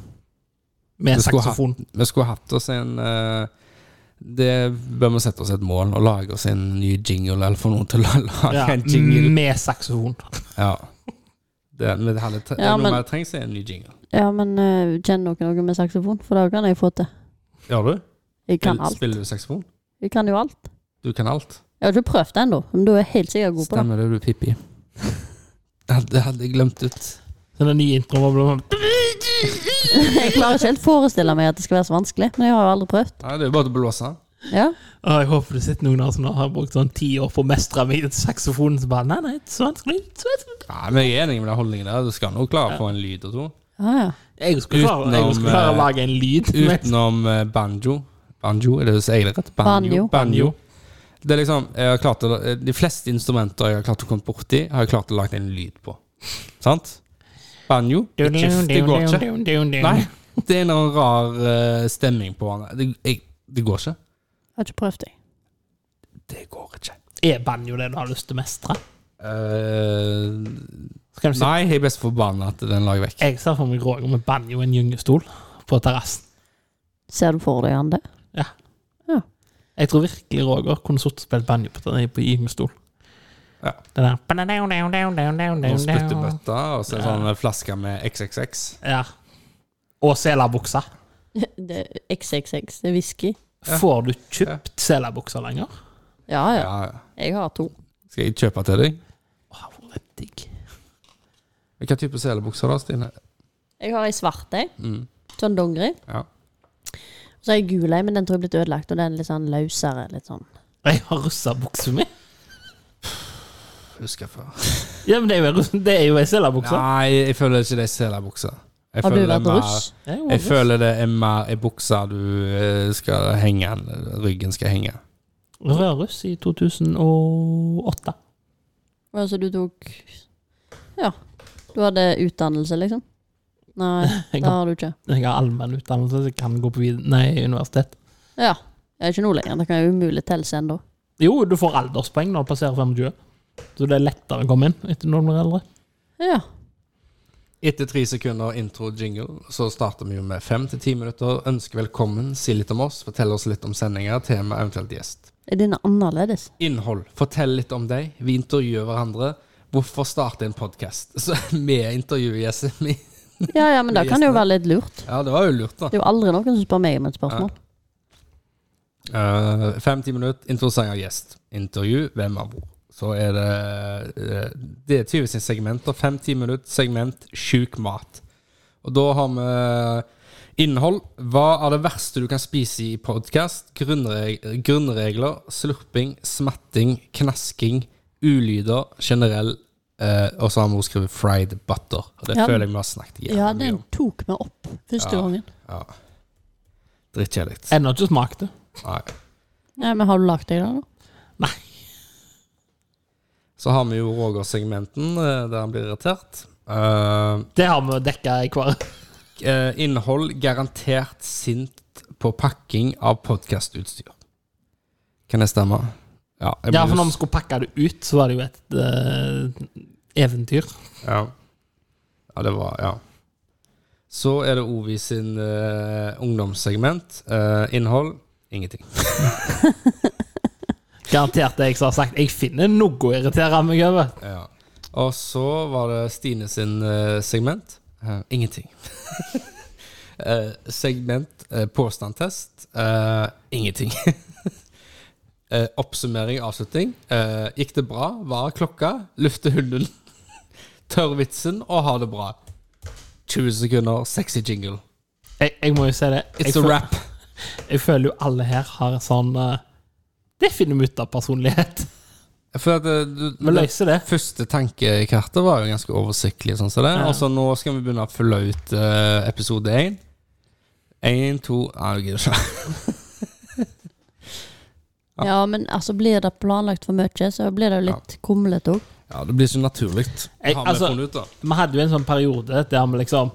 S3: Med
S2: Du skulle ha-
S3: saksofon.
S2: Vi skulle hatt oss en eh, Det bør vi sette oss et mål og lage oss en ny jingle, eller få noen til å lage
S3: Ja, Mm.
S2: en jingle.
S3: med saksofon.
S2: Ja. Det, men det, hadde tre,
S1: Ja,
S2: noe
S1: men-
S2: mer trengs, er en ny jingle.
S1: Ja, men eh, kjenner dere noe med saksofon? For det kan jeg få til.
S2: Gjør du?
S1: Jeg kan
S2: Spiller-
S1: alt.
S2: Spiller du saksofon?
S1: Jeg kan jo alt.
S2: Du kan alt.
S1: Jeg har ikke prøvd det ennå, men da er jeg helt sikkert god på det.
S2: Stemmer det, du Pippi? Det hadde, det hadde jeg glemt ut.
S3: Så den nye introen vår blir sånn
S1: Jeg klarer ikke helt forestille meg at det skal være så vanskelig, men jeg har jo aldri prøvd.
S2: Nei, det er jo bare til å blåse.
S1: Ja,
S3: Å, Jeg håper det sitter noen der som har brukt sånn ti år på å mestre meg i saksofonen. Så bare, nei, nei, det er sånn så vanskelig. Så vanskelig.
S2: Nei, men Jeg er enig med den holdningen der. Du skal nå klare å få en lyd og to.
S1: ja, ja.
S3: Jeg skulle klare, jeg skulle klare å lage en lyd. men-
S2: eh, Utenom eh, banjo. Banjo, er det du sier det rett?
S1: Banjo.
S2: banjo. Det er liksom, jeg har klart å, De fleste instrumenter jeg har klart å komme borti, har jeg klart å lage en lyd på. Sant? Banjo Det ikke- det går ikke. Nei, det er noen rar eh, stemning på den. Det, jeg, det går ikke.
S1: Jeg har ikke prøvd, jeg.
S2: Det går ikke.
S3: Er banjo det du har lyst til å mestre?
S2: Eh,
S3: Så kan du si,
S2: nei, jeg er best forbanna at den lager vekk.
S3: jeg ser for meg Roger med banjo og en gyngestol på terrassen.
S1: Ser du for deg han det?
S3: Jeg tror virkelig Roger kunne sittet og spilt banjo på den- på gyngestol.
S2: Ja.
S3: Den der
S2: Noen spyttebøtter og så en
S3: Ja.
S2: sånn flaske med XXX.
S3: Ja. Og selabuksa.
S1: det er XXX, det er whisky.
S2: Ja.
S3: Får du kjøpt selabuksa lenger?
S1: Ja, ja.
S2: Ja, ja.
S1: Jeg har to.
S2: Skal jeg kjøpe til deg?
S3: Wow, det er digg.
S2: Hvilken type selebukser da, Stine?
S1: Jeg har ei svart ei,
S2: Mm.
S1: sånn dongeri.
S2: Ja.
S1: Og så har jeg gul ei, men den tror jeg er blitt ødelagt, og den er litt sånn løsere. Litt sånn
S3: Jeg har russabuksa mi!
S2: Husker jeg før.
S3: Ja, men det er jo, en russ- det er jo ei selabukse.
S2: Nei, jeg føler ikke det er selabukse. Jeg
S1: Har du
S2: føler det er
S1: vært
S2: mer-
S1: russ?
S3: Jeg er jo
S2: Jeg
S3: russ.
S2: føler det er mer ei bukse du eh, skal henge Ryggen skal henge.
S3: Rødruss i 2008.
S1: Ja, så Altså, du tok Ja. Du hadde utdannelse, liksom? Nei,
S3: Jeg
S1: det har
S3: har,
S1: du ikke.
S3: jeg har allmenn utdannelse, så jeg kan gå på vid nei, universitet.
S1: Ja. Jeg er ikke nå lenger. Det kan jo umulig telle seg ennå.
S3: Jo, du får alderspoeng når du passerer 25, så det er lettere å komme inn etter når du blir eldre.
S1: Ja.
S2: Etter tre sekunder intro-jingle så starter vi jo med fem til ti minutter. Ønsker velkommen, si litt om oss, fortell oss litt om sendinger, tema, eventuelt gjest.
S1: Er dine annerledes?
S2: Innhold. Fortell litt om deg. Vi intervjuer hverandre. Hvorfor starte en podkast? Så vi intervjuer gjesten min.
S1: Ja, ja, men det kan jo være litt lurt.
S2: Ja, det var jo lurt, da.
S1: Det er jo aldri noen som spør meg om et spørsmål.
S2: Eh, Fem-ti minutter, interessant gjest. Intervju, hvem av hvor. Så er det eh, Det er tydeligvis en segment. Og fem-ti minutter, segment sjuk mat. Og da har vi eh, innhold. Hva er det verste du kan spise i podkast? Grunnregler, grunnregler, slurping, smatting, knasking, ulyder, generell eh, Og så har vi også skrevet 'fried butter'. Og det
S1: Ja.
S2: føler jeg vi har snakket jævlig
S1: Ja,
S2: mye
S1: den
S2: om.
S1: tok vi opp første
S2: Ja.
S1: gangen.
S2: Ja. Drittkjedelig.
S1: Eh.
S3: Ennå ikke smakt det.
S2: Nei.
S1: Nei, men har du lagt deg der, da?
S2: Så har vi jo Roger-segmenten, eh, der han blir irritert. Eh,
S3: Det har vi dekka i hver
S2: eh, innhold garantert sint på pakking av podkastutstyr. Kan det stemme? Ja. jeg
S3: Ja,
S2: blir
S3: for når vi
S2: jo-
S3: skulle pakke det ut, så var det jo et eh, eventyr.
S2: ja. ja, det var Ja. Så er det Ovi sin eh, ungdomssegment. Eh, innhold ingenting.
S3: Garantert det jeg som har sagt. Jeg finner noe å irritere meg over.
S2: Ja. Og så var det Stine sin eh, segment. Eh, ingenting. Eh, segment eh, påstandtest. Eh, ingenting. Eh, oppsummering, avslutning. Eh, gikk det bra? Hva er klokka? Lufte hunden. Tørr vitsen og ha det bra. 20 sekunder, sexy jingle.
S3: Jeg, jeg må jo si det. Jeg,
S2: It's a
S3: føl-
S2: wrap.
S3: jeg føler jo alle her har en sånn eh, Det finner vi ut av personlighet.
S2: For at, eh, du,
S3: Vi løser det.
S2: Første tankekartet var jo ganske oversiktlig. Sånn som det.
S3: Ja.
S2: Og så nå skal vi begynne å følge ut eh, episode én. Én, to Nei, jeg gidder ikke. Ja.
S1: Ja, men altså, blir det planlagt for mye, så blir det jo litt kumlete òg.
S2: Ja, det blir så naturlig.
S3: Jeg-
S2: Har vi
S3: altså-
S2: funnet ut, da?
S3: Vi hadde jo en sånn periode der vi liksom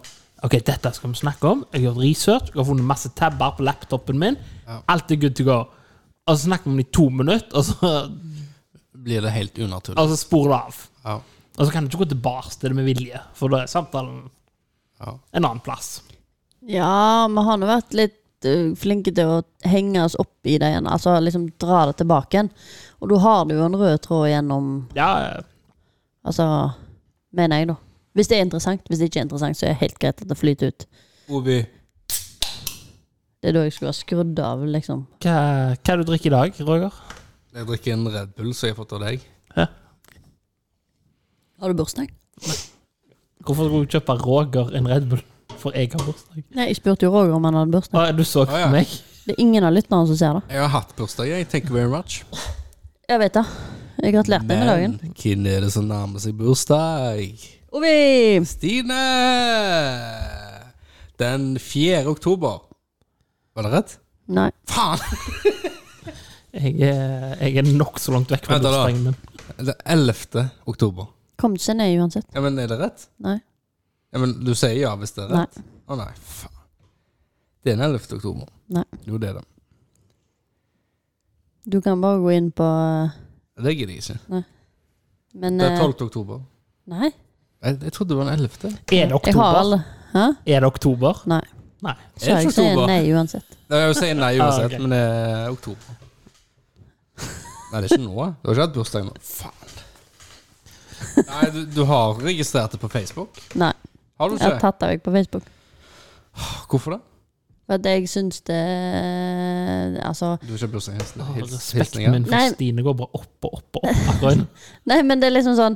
S3: Ok, dette skal vi snakke om. Jeg har gjort research, jeg har funnet masse tabber på laptopen min.
S2: Ja.
S3: Alt er good to go. Og så snakker vi om det i to minutter, og så,
S2: Blir det helt unaturlig.
S3: og så sporer det av.
S2: Ja.
S3: Og så kan du ikke gå tilbake til det med vilje, for da er samtalen
S2: Ja.
S3: en annen plass.
S1: Ja, vi har nå vært litt eh, flinke til å henge oss opp i det igjen. Altså liksom dra det tilbake igjen. Og da har du jo en rød tråd gjennom
S3: Ja, eh,
S1: Altså, mener jeg, da. Hvis det er interessant. Hvis det ikke er interessant, så er det helt greit at det flyter ut.
S2: Ovi.
S1: Det er da jeg skulle ha skrudd av, liksom.
S3: hva, hva er det du drikker i dag, Roger?
S2: Jeg drikker en Red Bull som jeg har fått av deg.
S1: Har du bursdag?
S3: Hvorfor skulle du kjøpe Roger en Red Bull? For jeg har bursdag.
S1: Nei, jeg spurte jo Roger om han hadde bursdag.
S3: Å, Du så
S2: Å, ja.
S3: meg.
S1: Det er ingen av lytterne som ser det.
S2: Jeg har hatt bursdag, jeg. Thank you very much.
S1: Jeg vet det. Jeg gratulerte deg med dagen.
S2: Men hvem er det som nærmer seg bursdag?
S1: Ovi!
S2: Stine! Den 4. oktober. Var det rett?
S1: Nei.
S2: Faen!
S3: Jeg er, jeg er nokså langt vekk fra
S2: Vent da, da.
S3: bursdagen min.
S2: Det er 11. oktober.
S1: Kom ikke seg ned uansett.
S2: Ja, men er det rett?
S1: Nei.
S2: Ja, men du sier ja hvis det er
S1: Nei.
S2: rett? Å nei, faen. Det er den 11. oktober.
S1: Nei.
S2: Jo, det er det.
S1: Du kan bare gå inn på eh,
S2: Det gidder jeg ikke.
S1: Men
S2: Det er
S1: eh,
S2: 12. oktober.
S1: Nei.
S2: Jeg, jeg trodde det var den 11.
S3: Er det
S1: Jeg har
S3: oktober?
S1: alle. Hæ?
S3: Er det oktober?
S1: Nei.
S3: Nei.
S1: Så jeg sier nei uansett.
S2: Nei, Jeg sier nei uansett,
S3: Ah, ok.
S2: men det er oktober. Nei, det er ikke nå. Du har ikke hatt bursdag nå. Faen. Nei, du, du har registrert det på Facebook?
S1: Nei.
S2: Har du
S1: Jeg har
S2: ikke?
S1: tatt det vekk på Facebook.
S2: Hvorfor det?
S1: For at jeg syns det Altså
S2: Du har ikke bursdagshilsninger?
S3: Å,
S2: Hils,
S3: Respekten
S2: hilsninger?
S3: min for
S1: Nei.
S3: Stine går bare opp og opp og opp. akkurat nå.
S1: Nei, men det er liksom sånn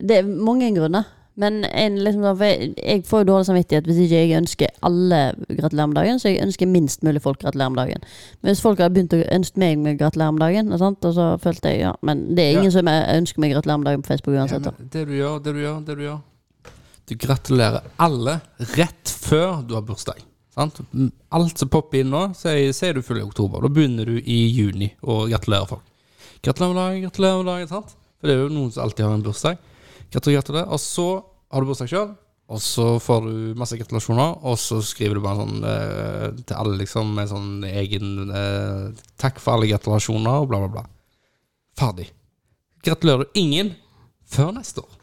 S1: Det er mange grunner. Men en, liksom, sånn, for jeg, jeg får jo dårlig samvittighet hvis ikke jeg ønsker alle gratulerer med dagen, så jeg ønsker minst mulig folk gratulerer med dagen. Men hvis folk hadde begynt å ønske meg med gratulerer med dagen, og, sant, og så følte jeg ja, men det er
S2: Ja.
S1: ingen som ønsker meg gratulerer med dagen på Facebook
S2: Ja,
S1: uansett. da.
S2: men det du gjør, det du gjør, det du gjør Du gratulerer alle rett før du har bursdag. Sant? Mm, Alt som popper inn nå, sier, sier du full i oktober. Da begynner du i juni å gratulere folk. Gratulerer med dagen, gratulerer med dagen. Sant? For det er jo noen som alltid har en bursdag. Gratulerer, gratulerer. Og så har du bursdag sjøl, og så får du masse gratulasjoner, og så skriver du bare sånn eh, til alle, liksom, med sånn egen eh, Takk for alle gratulasjoner, og bla, bla, bla. Ferdig. Gratulerer du ingen, før neste år.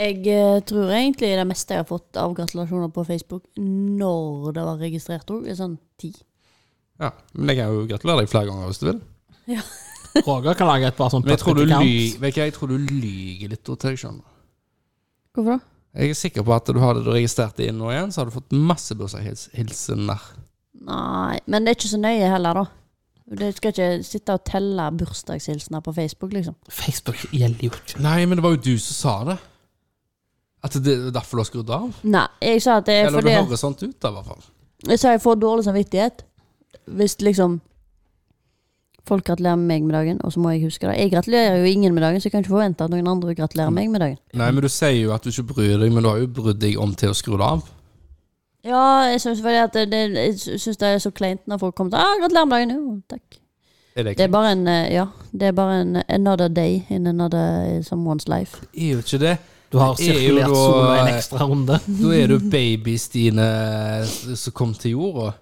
S1: Jeg eh, tror egentlig det meste jeg har fått av gratulasjoner på Facebook når det var registrert òg, er sånn ti.
S2: Ja, men jeg kan jo gratulere deg flere ganger hvis du vil.
S3: Roger kan lage et bare sånn
S2: Men jeg tror du,
S3: perfekt
S2: ly,
S3: account.
S2: vet ikke, jeg tror du lyger litt til deg sjøl.
S1: Hvorfor da?
S2: Jeg er sikker på at du hadde du registrert det inn nå igjen, så hadde du fått masse bursdagshilsener.
S1: Nei, men det er ikke så nøye heller, da. Du skal ikke sitte og telle bursdagshilsener på Facebook, liksom.
S3: Facebook gjelder jo ikke.
S2: Nei, men det var jo du som sa det. At det er derfor du har skrudd av?
S1: Nei, jeg sa at det er
S2: Eller
S1: fordi
S2: det høres sånt ut, da, i hvert fall.
S1: Jeg sa jeg får dårlig samvittighet hvis liksom folk gratulerer meg med dagen, og så må jeg huske det. Jeg gratulerer jo ingen med dagen, så jeg kan ikke forvente at noen andre gratulerer meg med dagen.
S2: Nei, men du sier jo at du ikke bryr deg, men du har jo brydd deg om til å skru det av.
S1: Ja, jeg syns at det, det, jeg synes det er så kleint når folk kommer til ah, 'Gratulerer med dagen', jo, takk.
S2: Er det,
S1: Det er
S2: ikke?
S1: bare en eh, Ja, det er bare en another day in another eh, someone's life.
S2: Det er jo ikke det.
S3: Du har
S2: Det er jo
S3: sirkulert
S2: da-
S3: sola en ekstra runde.
S2: Da er du baby-Stine som kom til jorda.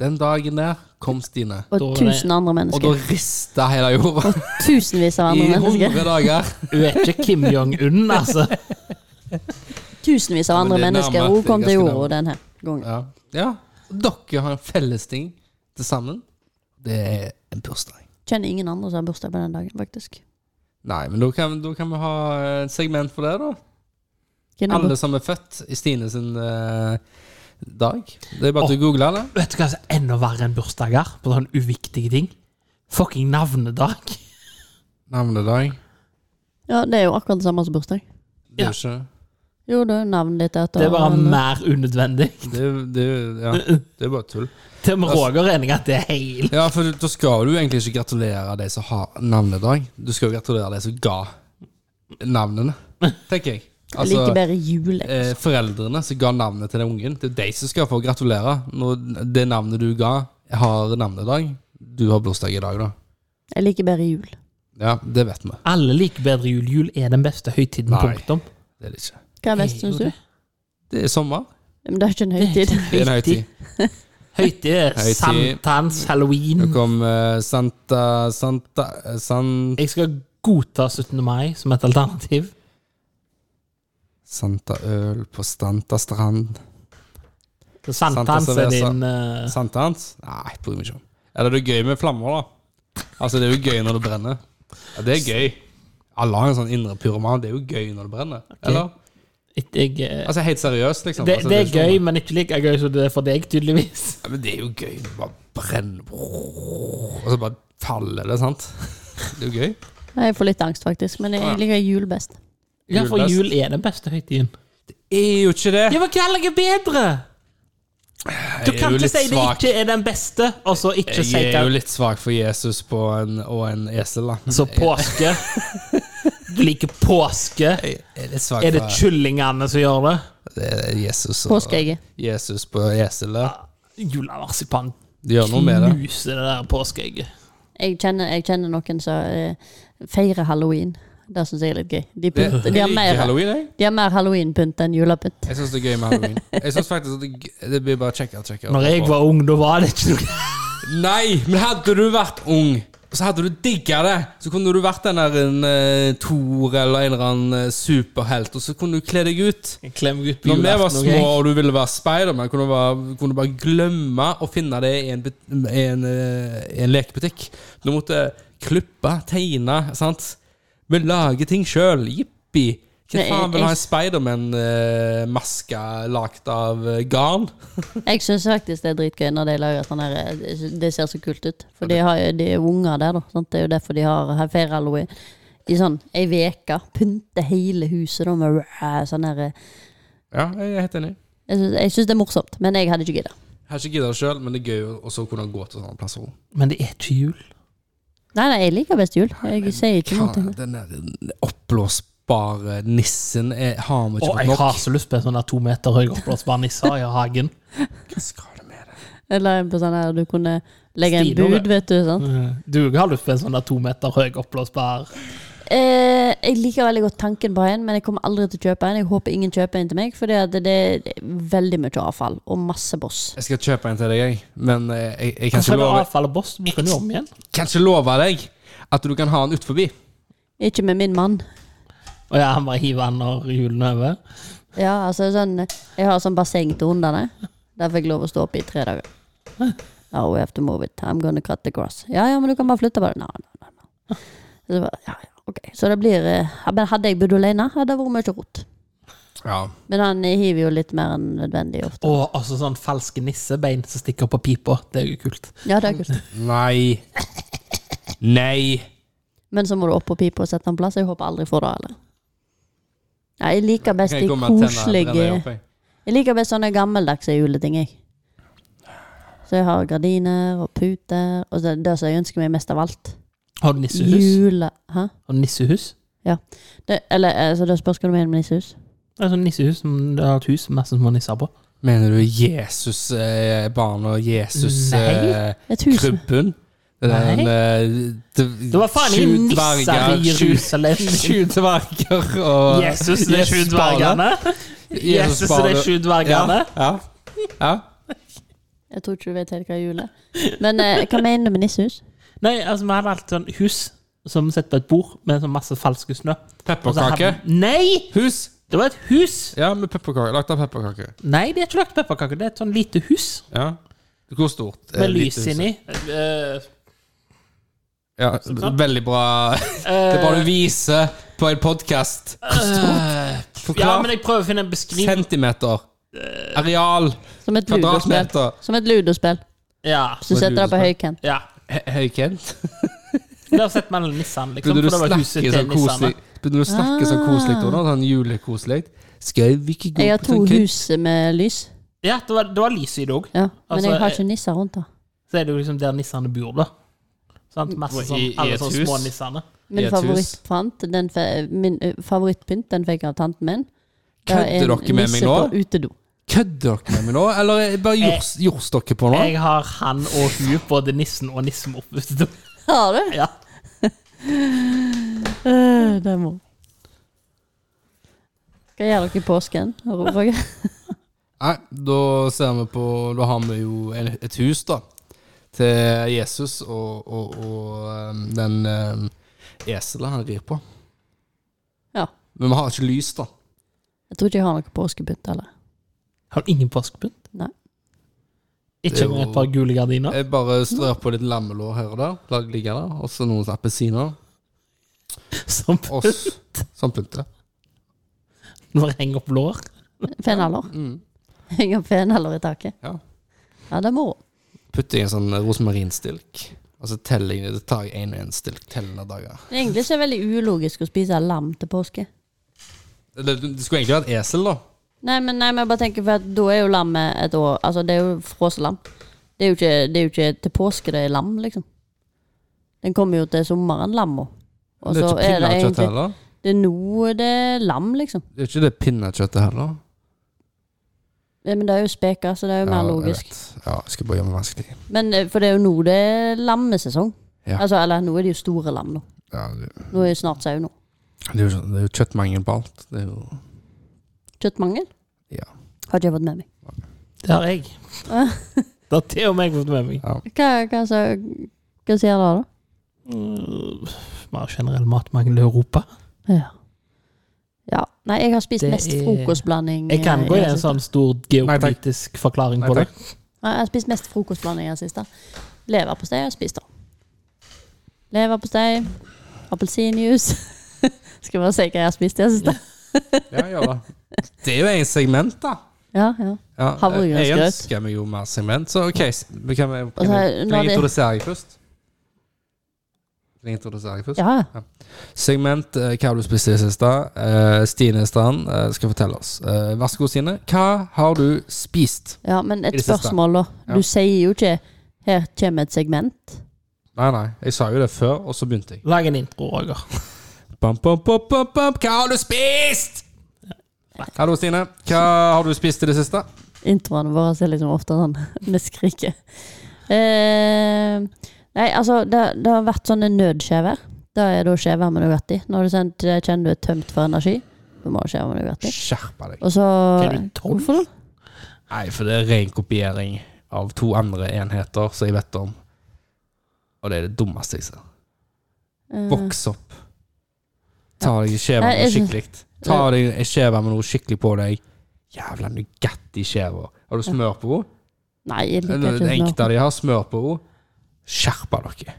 S2: Den dagen der kom Stine.
S1: Og
S3: Da er det-
S1: tusen andre
S2: Og da
S1: mennesker.
S2: rista hele jorda.
S1: Tusenvis av andre
S2: I
S1: mennesker.
S2: 100 dager.
S3: Hun er ikke Kim Jong-un, altså.
S1: Tusenvis av
S2: Ja, men
S1: andre
S2: det er
S1: mennesker.
S2: nærmere-
S1: Hun kom til
S2: ganske
S1: jorda
S2: nærmere.
S1: denne gangen.
S2: Ja. ja. Dere har en felles ting til sammen. Det er en bursdag.
S1: Kjenner ingen andre som har bursdag på den dagen, faktisk.
S2: Nei, men da kan, da kan vi ha et segment for det, da.
S1: Hvem er
S2: Alle som er født i Stine sin eh, dag. Det er bare til å google det.
S3: Vet du hva som er enda verre enn bursdager? På sånne uviktige ting? Fucking navnedag.
S2: Navnedag.
S1: Ja, det er jo akkurat det samme som bursdag.
S2: Det
S3: Ja.
S2: er jo
S1: Jo, det er jo navnet ditt etter eh,
S3: Det er bare
S1: eller-
S3: mer unødvendig.
S2: ikke det, er- det, er- ja, det er bare tull.
S3: Til og med Roger er enig i at det er heil.
S2: mm. Ja, for da skal du jo egentlig ikke gratulere de som har navnedag. Du skal jo gratulere de som ga navnene, tenker jeg.
S1: Jeg liker bedre jul. jeg.
S2: eh, foreldrene som ga navnet til den ungen. Det er de som skal få gratulere når det navnet du ga, har navnedag. Du har bursdag i dag, da.
S1: Jeg liker bedre jul.
S2: Ja, det vet vi.
S3: Alle liker bedre jul. Jul er den beste høytiden,
S2: Nei.
S3: punktum.
S2: Det er det ikke.
S1: Hva er best, syns du?
S2: Det er sommer.
S1: Men det er ikke en høytid.
S2: Det er en høytid.
S3: Høytid er
S2: Høytid.
S3: sankthans,
S2: Nå
S3: halloween.
S2: kom eh, Santa Santa eh, San,
S3: Jeg skal godta 17. mai som et alternativ.
S2: Santaøl på Santa Strand.
S3: Så Sankthans er
S2: Cerveza.
S3: din eh,
S2: Sankthans? Nei, bryr meg ikke om. Eller det er gøy med flammer, da. Altså, det er jo gøy når det brenner. Ja, det er gøy. Alle har en sånn indre pyroman. Det er jo gøy når det brenner. Eller?
S3: et- jeg, eh,
S2: Altså, helt seriøst, liksom.
S3: det,
S2: altså,
S3: det
S2: ikke
S3: er
S2: noe-
S3: gøy, men ikke like gøy som det er for deg, tydeligvis.
S2: Ja, men det er jo gøy. Du Bare brenn Og så bare faller det, sant? Det er jo gøy.
S1: Jeg får litt angst, faktisk. Men jeg liker jul best.
S3: Ja, for
S2: Julebest.
S3: jul er den beste høytiden.
S2: Er jo ikke det.
S3: Ja, men hva er det bedre? Du
S2: Jeg er
S3: kan
S2: jo
S3: ikke
S2: litt
S3: si det
S2: svak.
S3: ikke er den beste, og så ikke si
S2: Jeg
S3: hva
S2: er jo litt svak for Jesus på en, og en esel, da.
S3: Så påske Du liker påske.
S2: Jeg er litt svak
S3: Er det
S2: for
S3: kyllingene som gjør det?
S2: det er Jesus, og,
S1: Påskeegget.
S2: Jesus på eselet.
S3: Julemarsipan
S2: De gjør noe med det.
S3: knuser det der påskeegget.
S1: Jeg kjenner, jeg kjenner noen som eh, feirer halloween. Det syns jeg er litt gøy. De,
S2: Det,
S1: pynt, de,
S2: jeg
S1: har,
S2: liker
S1: mer,
S2: halloween, jeg.
S1: de har mer halloweenpynt enn julepynt.
S2: Jeg syns det er gøy med halloween. Jeg synes faktisk at det, g- det blir bare kjekkere og kjekkere.
S3: Når jeg var ung, da var det ikke noe
S2: Nei, men hadde du vært ung, og så hadde du digga det, så kunne du vært den der en eh, Thor eller en eller annen eh, superhelt, og så kunne du kle deg ut.
S3: Jeg klemmer ut på
S2: Når vi var
S3: julaften.
S2: små
S3: ok?
S2: og du ville være speidermann, kunne, du være- kunne du bare glemme å finne det i en, but- i en, eh, i en lekebutikk. Du måtte klippe, tegne, sant? Vi lager ting sjøl. Jippi. Hva
S1: Men jeg-
S2: faen vil ha en
S1: jeg-
S2: Spiderman-maske lagd av eh, garn?
S1: Jeg syns faktisk det er dritgøy når de lager sånn her eh, Det ser så kult ut. For de, har, jo- de er jo unger der, da. Sant? Det er jo derfor de har feirer halloween. i sånn ei veke. Pynte hele huset da med rah, sånn her eh,
S2: Ja, jeg er helt enig.
S1: Jeg syns- jeg syns det er morsomt, men jeg hadde ikke gidda.
S2: Jeg har ikke gidda det sjøl, men det er gøy å- også å kunne gå til sånne plasser.
S3: Men det er ikke jul.
S1: Nei, nei, jeg liker best jul. Jeg sier ikke noe.
S2: Faen, Den der den oppblåsbare nissen er, har vi
S3: Å,
S2: ikke
S3: jeg
S2: fått
S3: har
S2: nok.
S3: så lyst på en sånn der to meter høy oppblåsbar nisse i hagen.
S2: Hva skal du med det?
S1: Eller en på sånn her du kunne legge en
S3: Stino, det.
S1: bud, vet du. sånn. sant?
S3: Mm. Du har lyst på en sånn der to meter høy oppblåsbar
S1: Eh, jeg liker veldig godt tanken på en, men jeg kommer aldri til å kjøpe en. Jeg håper ingen kjøper en til meg, for det, det er veldig mye avfall og masse boss.
S2: Jeg skal kjøpe en til deg, jeg. Men eh, jeg, jeg kan,
S3: Kanskje
S2: ikke
S3: det
S2: love,
S3: avfall og boss må kunne om igjen?
S2: kan ikke love deg at du kan ha den utforbi.
S1: Ikke med min mann.
S3: Og ja, han bare hiver han når julen er over?
S1: Ja, altså sånn Jeg har sånn basseng til hundene. Der fikk jeg lov å stå oppe i tre dager. Oh, we have to move it. I'm gonna cut the grass. Ja, ja, men du kan bare flytte på det. No, no, no, no. Så, bare, ja, ja, ok. så det blir eh, ja, Men hadde jeg bodd alene, hadde det vært mye rot.
S2: Ja.
S1: Men han eh, hiver jo litt mer enn nødvendig ofte.
S3: Og også sånn falske nissebein som stikker på pipa. Det er jo kult.
S1: Ja, det er kult.
S2: Nei. Nei.
S1: Men så må du opp på pipa og sette en plass. Jeg håper aldri får det heller. Ja, jeg liker best
S2: Kan
S1: de
S2: jeg komme med
S1: koselige
S2: tenner- tenner opp, jeg?
S1: Jeg liker best sånne gammeldagse juleting, jeg. Så jeg har gardiner og puter, og det, det som jeg ønsker meg mest av alt.
S3: Har du nissehus?
S1: Jule... Hæ?
S3: Har du nissehus?
S1: Det, eller, eh, så da spørs hva du mener med nissehus.
S3: Det er sånn nissehus som det har et hus med masse små nisser på.
S2: Mener du Jesus eh, barn og Jesus
S3: Nei.
S2: eh,
S1: Et hus.
S2: krybben? Det
S3: Nei.
S2: er en, eh, d-
S3: Det var faen
S2: sju
S3: ingen nisser
S2: dverger,
S3: i
S2: sju-
S3: Jerusalem.
S2: Sju dverger og
S3: Jesus, det er sju
S2: Jesus barnet.
S3: dvergene. eh? Jesus, det er sju dvergene.
S2: Ja, ja, ja.
S1: Jeg tror ikke du vet helt hva jul er. Men eh, hva mener du med nissehus?
S3: Nei, altså, vi hadde alltid sånn hus som satt på et bord med sånn masse falske snø. Og så
S2: Pepperkake.
S3: hadde- Nei!
S2: Hus.
S3: Det var et hus!
S2: Ja, med pepperkake. Lagt av pepperkake.
S3: Nei, det er ikke lagt pepperkaker. Det er et sånn lite hus
S2: Ja. Hvor stort? Eh,
S3: med
S2: lite
S3: lys
S2: hus.
S3: inni. Eh,
S2: Ja, veldig bra. Det er bare du viser på en podkast.
S3: eh, ja,
S2: Forklar.
S3: men jeg prøver å finne en beskrivelse.
S2: Centimeter. Areal.
S1: Som et ludospill.
S2: Kvadratmeter.
S1: Som et ludospill.
S3: Ja.
S1: Så
S2: Som et
S1: setter det på
S2: ludospill.
S1: høykant.
S3: ja.
S2: Hø- Høykent.
S3: Det har sett mellom nissene, liksom.
S2: Begynner du
S3: For
S2: å
S3: det
S2: snakke
S3: var huset Ah. til
S2: sånn
S3: nissene.
S2: koselig Begynner du å snakke sånn koselig nå? da? Sånn julekoselig? Skal vi ikke gå
S1: Jeg har
S2: på
S1: to
S2: sånn kri-
S1: hus med lys.
S3: Ja, det var, det var lys i det òg.
S1: Ja, men
S3: Altså,
S1: jeg har
S3: eh,
S1: ikke nisser rundt det.
S3: Så er det jo liksom der nissene bor, da. Sant? Masse
S2: I-
S3: sånn,
S2: i
S3: alle
S2: et
S3: sånne
S2: hus?
S3: små nissene.
S1: Min
S2: i et hus.
S1: favorittpynt, den fe, min eh, favorittpynt, den fikk jeg av tanten min. Det er
S2: Kødder
S1: en
S2: dere med meg
S1: nisse
S2: nå?
S1: på utedo.
S2: Kødder dere med meg nå? Eller er det
S3: Eh.
S2: bare jords- jordsdere på nå?
S3: Jeg har han og hun, både nissen og nissen, oppe.
S1: Har du?
S3: Ja.
S1: Eh, Det må Hva gjør dere i påsken? Roger?
S2: Nei, da ser vi på Da har vi jo en, et hus, da. Til Jesus og, og, og um, den um, eselet han rir på.
S1: Ja.
S2: Men vi har ikke lys, da.
S1: Jeg tror ikke jeg har noe påskepynt heller.
S3: Har du ingen påskepynt?
S1: Nei.
S2: Det
S3: Ikke
S2: er jo-
S3: engang et par gule gardiner?
S2: Jeg bare strør på litt lammelår her og der. lar det ligge der. Og så noen appelsiner. Eh,
S3: Som
S2: Og s- sånn pynte.
S3: når henger opp lår?
S1: Fenalår. Henge opp fenalår i taket.
S2: Ja.
S1: Ja, det er moro.
S2: Putter jeg en sånn rosmarinstilk. Og så teller jeg det tar jeg en og en stilk tellende dager.
S1: Men Egentlig så er det veldig ulogisk å spise lam til påske.
S2: Det, det det skulle egentlig vært esel, da.
S1: Nei, men, nei, men jeg bare tenker for at da er jo lammet et år Altså, det er jo frosselam. Det er jo ikke, det er jo ikke til påske det er lam, liksom. Den kommer jo til sommeren, lamma. Og
S2: det
S1: så
S2: er ikke
S1: er det
S2: pinnekjøtt
S1: egentlig
S2: heller.
S1: Det er noe det er lam, liksom.
S2: Det er ikke det pinnekjøttet heller.
S1: Ja, Men det er jo speker, så det er jo mer
S2: jeg
S1: logisk.
S2: vet. Ja, jeg skal bare gjøre meg vanskelig.
S1: Men eh, for det er jo nå det er lammesesong.
S2: Ja.
S1: Altså, eller nå er det jo store lam nå.
S2: Ja, det,
S1: Nå er det snart sau nå.
S2: det, er jo, sånn- det er jo kjøttmangel på alt. Det er jo
S1: Kjøttmangel
S2: Ja.
S1: har ikke jeg fått med meg.
S3: Det har jeg.
S1: Ah.
S3: Det har til og med jeg fått med meg.
S1: Hva, hva, så, hva sier det da?
S3: Mm, Mer generell matmangel i Europa.
S1: Ja. ja. Nei, jeg har spist
S3: Det
S1: mest
S3: er-
S1: frokostblanding.
S3: Jeg kan
S1: eh,
S3: gå i
S1: det
S3: en
S1: siste.
S3: sånn stor geopolitisk forklaring
S2: Nei,
S3: på det.
S2: takk.
S1: Nei, Jeg har spist mest frokostblanding i det siste. Leverpostei har jeg spist, da. Leverpostei, appelsinjuice Skal bare si hva jeg har spist i det siste.
S2: Ja, gjør det. Det er jo en segment, da.
S1: Ja, ja.
S2: Ja, jeg- jeg
S1: Havregrynsgrøt.
S2: ønsker meg jo mer segment, så OK. s- men Kan jeg,
S1: Og
S2: kan
S1: så Altså, er-
S2: jeg,
S1: når
S2: kan jeg
S1: det-
S2: introdusere deg først? Kan jeg introdusere deg først?
S1: Ja, ja.
S2: Segment eh, hva har du spist i det siste. Eh, Stine Strand eh, skal fortelle oss. Eh, vær så god, Stine. Hva har du spist?
S1: ja men
S2: I
S1: et
S2: det siste.
S1: spørsmål, da.
S2: Ja.
S1: Du sier jo ikke 'her kommer et segment'.
S2: Nei, nei, jeg sa jo det før, og så begynte jeg.
S3: Lag en intro, Roger.
S2: Bam, bam, bam, bam, bam. Hva har du spist? Hallo, Stine. Hva har du spist i det siste?
S1: Introene våre er liksom ofte sånn med skriket. Eh, nei, altså, det, det har vært sånne nødskjever. Det er da skjever med Nugatti. Når du sendt, eh, kjenner du er tømt for energi, så må du skjeve med Nugatti.
S2: Skjerpa deg.
S1: Og så
S3: Er du tolv?
S1: Hvorfor det?
S2: Nei, for det er ren kopiering av to andre enheter som jeg vet om. Og det er det dummeste jeg ser.
S1: Eh,
S2: Voks opp. Ta deg en skjeve
S1: Nei,
S2: med noe
S1: jeg-
S2: skikkelig. Ta deg en skjeve med noe skikkelig på deg. Jævla Nugatti-skjever. Har du smør på henne?
S1: Nei, jeg liker
S2: Den
S1: ikke sånn
S2: enkelte
S1: smør.
S2: av de har smør på henne. Skjerpa dere.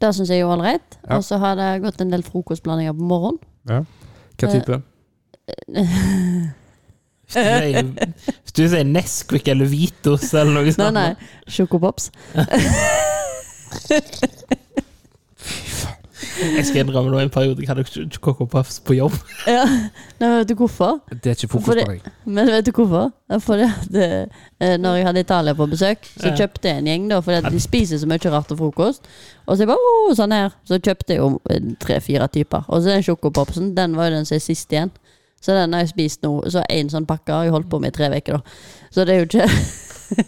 S1: Det syns jeg er ålreit.
S2: Ja.
S1: Og så har det gått en del frokostblandinger på morgenen.
S2: Hva type?
S3: Hvis du sier- Hvis du sier Nesquik eller Vitos eller noe
S1: Nei,
S3: sånt
S1: nei. Sjokopops.
S3: Jeg skal innrømme nå en periode jeg hadde ikke Coco Puffs på jobb.
S1: Ja. Nei, men vet du hvorfor?
S2: Det er ikke
S1: For
S2: fokus
S1: det-
S2: på deg.
S1: Men vet du hvorfor? Det er Fordi at eh, når jeg hadde Italia på besøk, så
S3: Ja.
S1: kjøpte jeg en gjeng, da, fordi at de spiser så mye rart til frokost. Og så jeg bare, oh, sånn her. Så kjøpte jeg jo tre-fire typer. Og så den sjokopopsen, den var jo den som er sist igjen. Så den har jeg spist nå. Så én sånn pakke har jeg holdt på med i tre uker, da. Så det er jo ikke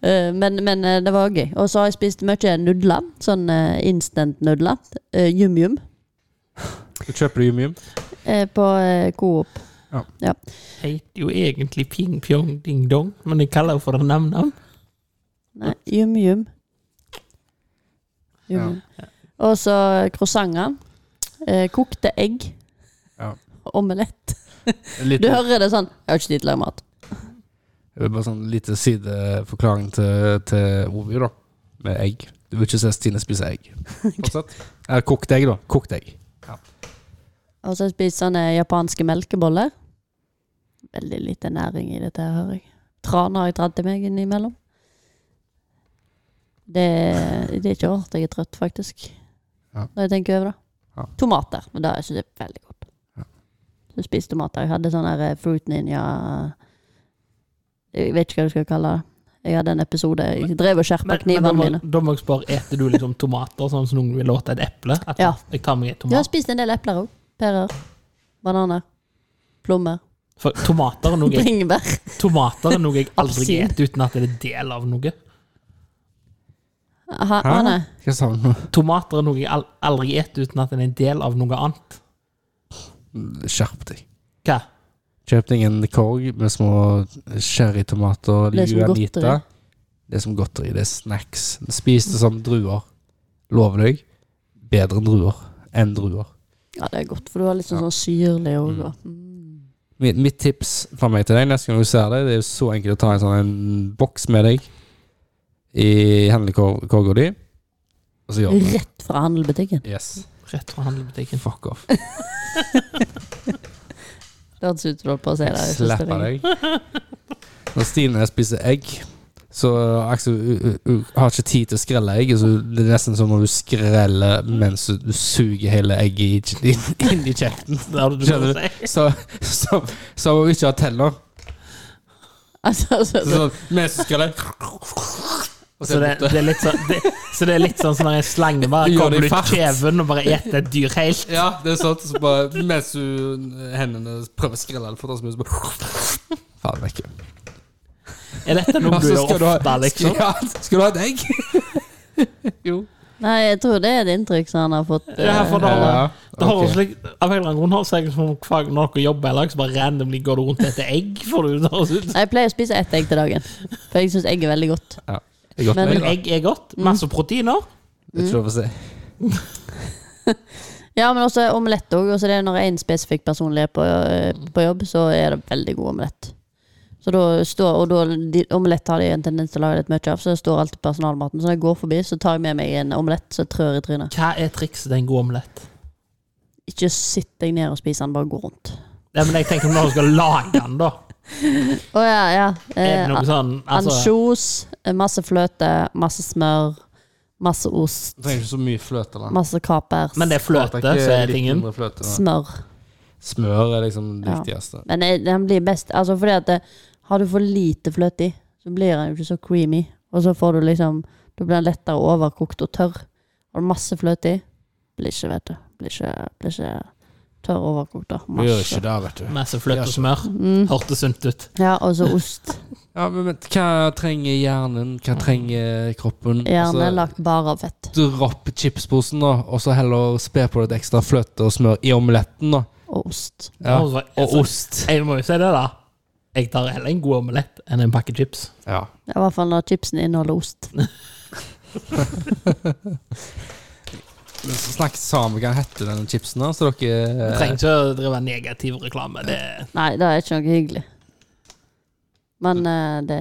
S1: Eh, men, men eh, det var gøy. Og så har jeg spist mye nudler. Sånn eh, instant-nudler. Eh, Yum-yum.
S2: Du kjøper du Jum-Jum?
S1: eh, på eh, Coop.
S3: Jeg heter jo egentlig Ping Pjong Ding Dong, men jeg kaller det for Nam-Nam.
S1: Nei, Yum Yum. Yum,
S2: Ja.
S1: yum. Og så croissanter. Eh, kokte egg.
S2: Ja.
S1: Omelett.
S2: Litt,
S1: Du hører det sånn Jeg har ikke tid til å lage mat.
S2: bare sånn lite sideforklaring til, til Ovi, da. Med egg. Du vil ikke se Stine spise egg. Fortsett. Eh, Kokt egg, da. Kokt egg.
S1: Og så spiser han eh, japanske melkeboller. Veldig lite næring i dette, her, hører jeg. Tran har jeg dratt til meg innimellom. Det, det er ikke rart jeg er trøtt, faktisk.
S2: Ja.
S1: Når jeg tenker over det.
S2: Ja.
S1: Tomater. Og det syns jeg er veldig godt.
S2: Ja.
S1: Så jeg spiste tomater. Jeg hadde sånn her eh, fruit ninja Jeg vet ikke hva du skal kalle det. Jeg hadde en episode Jeg drev og skjerpa
S3: da,
S1: knivene
S3: må,
S1: mine.
S3: da må jeg spørre, eter du liksom tomater sånn som noen vil låte et eple? At
S1: Ja.
S3: Jeg tar meg et
S1: Jeg har
S3: tomat.
S1: spist en del epler òg. Pærer. Bananer. Plommer.
S3: For tomater er noe jeg,
S1: Bringebær.
S3: tomater er noe jeg aldri
S1: Appelsin.
S3: spiser uten at det er del av noe.
S1: Aha, ah, nei.
S2: Hva sa hun?
S3: Tomater er noe jeg al- aldri spiser uten at det er en del av noe annet.
S2: Skjerp deg.
S3: Hva?
S2: Kjøp deg en korg med små cherrytomater.
S1: Det er som
S2: Juanita.
S1: godteri.
S2: Det er som godteri. Det er snacks. Spis det som druer. Lover deg. Bedre enn druer. Enn druer.
S1: Ja, det er godt, for du har litt sånn, sånn syrlig
S3: Mm.
S1: òg.
S2: Mitt, mitt tips fra meg til deg neste gang du ser det, det er jo så enkelt å ta en sånn en boks med deg i handlekorga di, og så gjør du det.
S1: Mm. Rett fra handelbutikken.
S2: Yes.
S3: Rett fra handlebutikken.
S2: Fuck off.
S1: Det hørtes ut som du holdt på å si det. jeg synes det
S2: Slapper
S1: er gøy.
S2: deg. Når Stine spiser egg, så Aksel u- u- u- har ikke tid til å skrelle egg. Så det er nesten som om du skreller mens du- du suger hele egget i- i- inn i kjeften.
S3: Det hadde du
S2: Skjønner
S3: bare sagt.
S2: Så- så- Som om hun ikke har tenner.
S1: Altså, altså,
S2: Så Sånn, mens du skreller Og
S3: Så det, det er litt sånn, det, så det er litt sånn som når en slange bare
S2: Gjør
S3: kommer
S2: det i
S3: ut
S2: fart.
S3: kjeven og bare eter et dyr helt.
S2: Ja, det er sant. Så bare mens du hendene prøver å skrelle det fortere, så bare Faen, vekke.
S3: Er dette noe du
S2: Så
S3: gjør
S2: skal du ha-
S3: ofte, liksom?
S2: Ja, skal du ha et egg? jo.
S1: Nei, jeg tror det er et inntrykk som han har fått.
S3: Det her
S1: eh,
S3: får du
S1: eller-
S3: ha. Det har
S2: ok.
S3: også slik, av en eller annen grunn har det seg som hver gang dere jobber i lag, så bare randomly går du rundt etter egg. For du, det høres ut.
S1: Nei, Jeg pleier å spise ett egg til dagen, for jeg syns egg er veldig godt.
S2: Det er godt
S1: Men-
S2: med
S3: Men
S2: egg, da.
S3: egg er godt. Masse proteiner.
S2: Det er ikke lov å si.
S1: Ja, men også omelett òg. Og så det er når én spesifikk person er på, eh, på jobb, så er det veldig god omelett. Så da står, og da, de, omelett har de en tendens til å lage litt mye av, så det står alltid personalmaten. Så når jeg går forbi, så tar jeg med meg en omelett som jeg trør i trynet.
S3: Hva er trikset til en god omelett?
S1: Ikke sitt deg ned og spis den, bare gå rundt.
S3: Nei, men jeg tenker om dere skal lage den, da.
S1: Å ja, ja.
S3: Er det
S1: Eh,
S3: noe sånn altså,
S1: Ansjos, masse fløte, masse smør, Masse ost,
S2: Du trenger ikke så mye fløte. Da.
S1: masse kapers,
S3: Men det er fløte, så er tingen.
S2: Fløte, da.
S1: smør.
S2: Smør er liksom det
S1: Ja.
S2: viktigste.
S1: Men eh, den blir best altså fordi at det, Har du for lite fløte i, så blir den jo ikke så creamy. Og så får du liksom Da blir den lettere overkokt og tørr. Har du masse fløte i, blir ikke, vet du Blir ikke, blir ikke tørr overkokt. Da.
S2: Du gjør
S1: Masse.
S2: ikke det, vet du.
S3: Masse fløte og smør.
S1: Mm.
S3: Hørtes sunt ut.
S1: Ja, og så ost.
S2: Ja, men, men Hva trenger hjernen? Hva trenger kroppen?
S1: Gjerne
S2: Altså,
S1: lagt bare av fett.
S2: Dropp chipsposen, da, og så heller spe på litt ekstra fløte og smør i omeletten. da.
S1: Og ost.
S2: Ja.
S3: Og så-
S2: Og ost.
S3: Jeg må jo si det, da. Jeg tar heller en god omelett enn en pakke chips.
S2: Ja.
S1: Ja, I hvert fall når chipsen inneholder ost.
S2: Snakk sammen hva heter den chipsen, da, så dere
S3: Du trenger ikke å drive negativ reklame. Det,
S1: Nei, det er ikke noe hyggelig. Men eh, det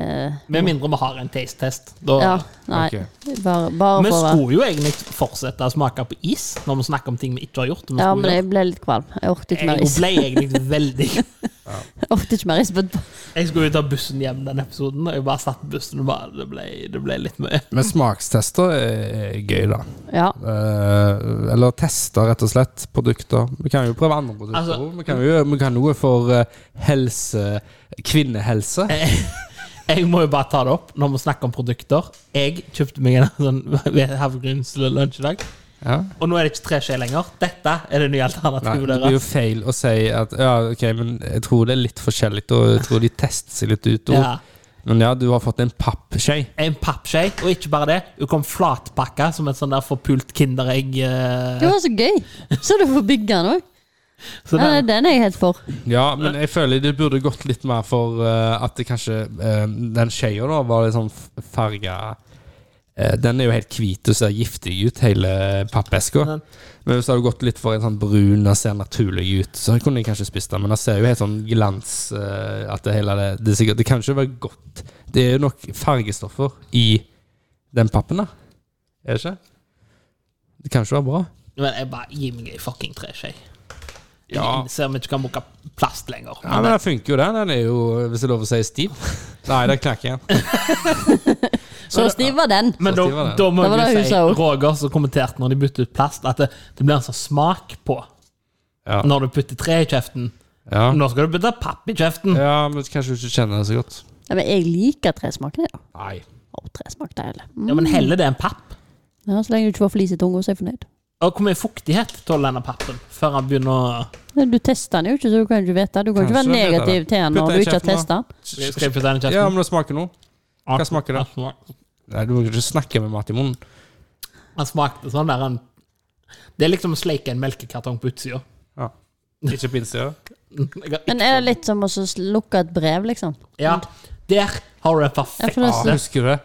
S3: med mindre vi har en taste-test. Da-
S1: Ja, nei.
S2: Ok.
S1: Bare, bare
S3: Vi
S1: for å
S3: skulle jo egentlig fortsette å smake på is når vi snakker om ting vi ikke har gjort. Vi
S1: Ja,
S3: skulle
S1: men
S3: gjøre.
S1: jeg ble litt kvalm. Jeg orket ikke mer
S3: jeg
S1: is.
S3: ble egentlig veldig
S1: Jeg orket ikke mer is på
S3: Jeg skulle jo ta bussen hjem den episoden, og jeg bare satt på bussen og bare Det ble, det ble litt mye.
S2: Men smakstester er er gøy, da.
S1: Ja.
S2: Eh, eller teste, rett og slett, produkter. Vi kan jo prøve andre produkter.
S3: Altså-
S2: også. vi kan jo gjøre vi kan noe for eh, helse Kvinnehelse.
S3: Jeg må jo bare ta det opp når vi snakker om produkter. Jeg kjøpte meg en sånn havregryns til lunsj i dag,
S2: Ja.
S3: og nå er det ikke treskje lenger. Dette er det nye
S2: Nei,
S3: alternativet
S2: det blir jo
S3: deres.
S2: feil å si at Ja, ok, men jeg tror det er litt forskjellig, og jeg tror de tester seg litt ut. også.
S3: Ja.
S2: Men ja, du har fått en pappskje.
S3: En pappskje, og ikke bare det. Hun kom flatpakka som et sånn der forpult Kinderegg. eh, sånn
S1: Det var så gøy! Så du får bygge den òg.
S3: Så
S1: Ja,
S3: den,
S1: den er jeg helt for.
S2: Ja, men jeg føler det burde gått litt mer for eh, at det kanskje eh, Den skjea da var litt sånn farga Eh, Den er jo helt hvit og ser giftig ut, hele pappeska.
S3: Den-
S2: Men hvis det hadde gått litt for en sånn brun Den ser naturlig ut, så kunne jeg kanskje spist den. Men den ser jo helt sånn glans eh, At det hele det, det, er sikkert, det kan ikke være godt. Det er jo nok fargestoffer i den pappen, da. Er det ikke? Det kan ikke være bra.
S3: Men jeg bare Gi meg ei fucking treskje. Jeg
S2: Ja.
S3: innser vi ikke kan bruke plast lenger.
S2: Ja, men den funker jo, den. Den er jo, hvis det er lov å si, stiv. Nei, den knekker igjen.
S1: Så stiv var den.
S3: Men
S2: Så
S3: da,
S2: stiv var den.
S3: da må
S1: Da var det
S3: jeg jo
S1: hun
S3: si
S1: sa også.
S3: Roger som kommenterte når de bytter ut plast, at det, det blir en sånn smak på
S2: Ja.
S3: når du putter tre i kjeften.
S2: Ja.
S3: Nå skal du putte papp i kjeften.
S2: ja, men kanskje du ikke kjenner det så godt.
S1: Ja, men jeg liker tresmaken. jeg, da.
S2: Nei.
S1: Å, tresmak, deilig.
S3: Ja, men heller det enn papp.
S1: Mm. Ja, så lenge du ikke får flis i tunga, så er jeg fornøyd.
S3: Og hvor mye fuktighet tåler denne pappen før han begynner å
S1: Nei, Du tester den jo ikke, så du kan jo ikke vite. Du kan ikke
S2: Kanskje
S1: være
S2: du vet det.
S1: negativ til den
S2: Putt
S1: når
S2: den i
S1: du ikke har
S2: kjeften, da.
S1: testa den.
S3: Skal jeg putte den i
S2: Ja,
S3: kjeften?
S2: men det smaker noe. hva smaker det?
S3: Han smak-
S2: Nei, Du må ikke snakke med mat i munnen.
S3: Han smakte sånn der han Det er liksom å sleike en melkekartong på utsida.
S2: Ja. Ikke pinse, ja.
S3: Jeg har-
S1: Men er det litt som å så lukke et brev, liksom?
S3: Ja, der har du det
S1: Ja, for det
S3: perfekte.
S1: er
S2: Ah, husker du det?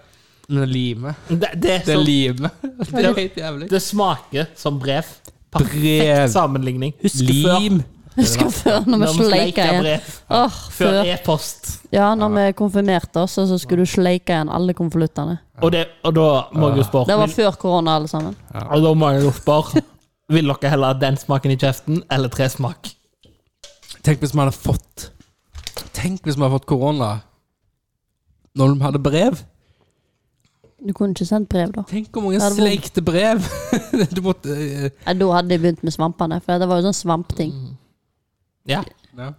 S2: Med limet.
S3: Det, det, er
S2: Det
S3: så,
S2: limet. Det er helt jævlig.
S3: det smaker som brev.
S2: Brev.
S3: Perfekt sammenligning. Husker før.
S2: Lim.
S1: Husker før når vi
S3: Når vi
S1: sleika
S3: sleika
S1: igjen.
S3: brev.
S1: Åh,
S3: Før
S1: før.
S3: e-post.
S1: Ja, når vi konfirmerte oss, og så skulle du sleike igjen alle konvoluttene.
S3: Og, det, og da må jeg jo spørre
S1: Det var før korona, alle sammen.
S3: Og da må jeg jo spørre Vil dere heller ha den smaken i kjeften eller tresmak?
S2: Tenk hvis vi hadde fått Tenk hvis vi hadde fått korona når vi hadde brev.
S1: Du kunne ikke sendt brev, da.
S2: Tenk hvor mange
S1: Det hadde vært-
S2: sleikte brev! du måtte eh,
S1: Nei, Da hadde de begynt med svampene, for det var jo sånn svampting.
S2: Mm.
S3: Ja.
S2: Ja.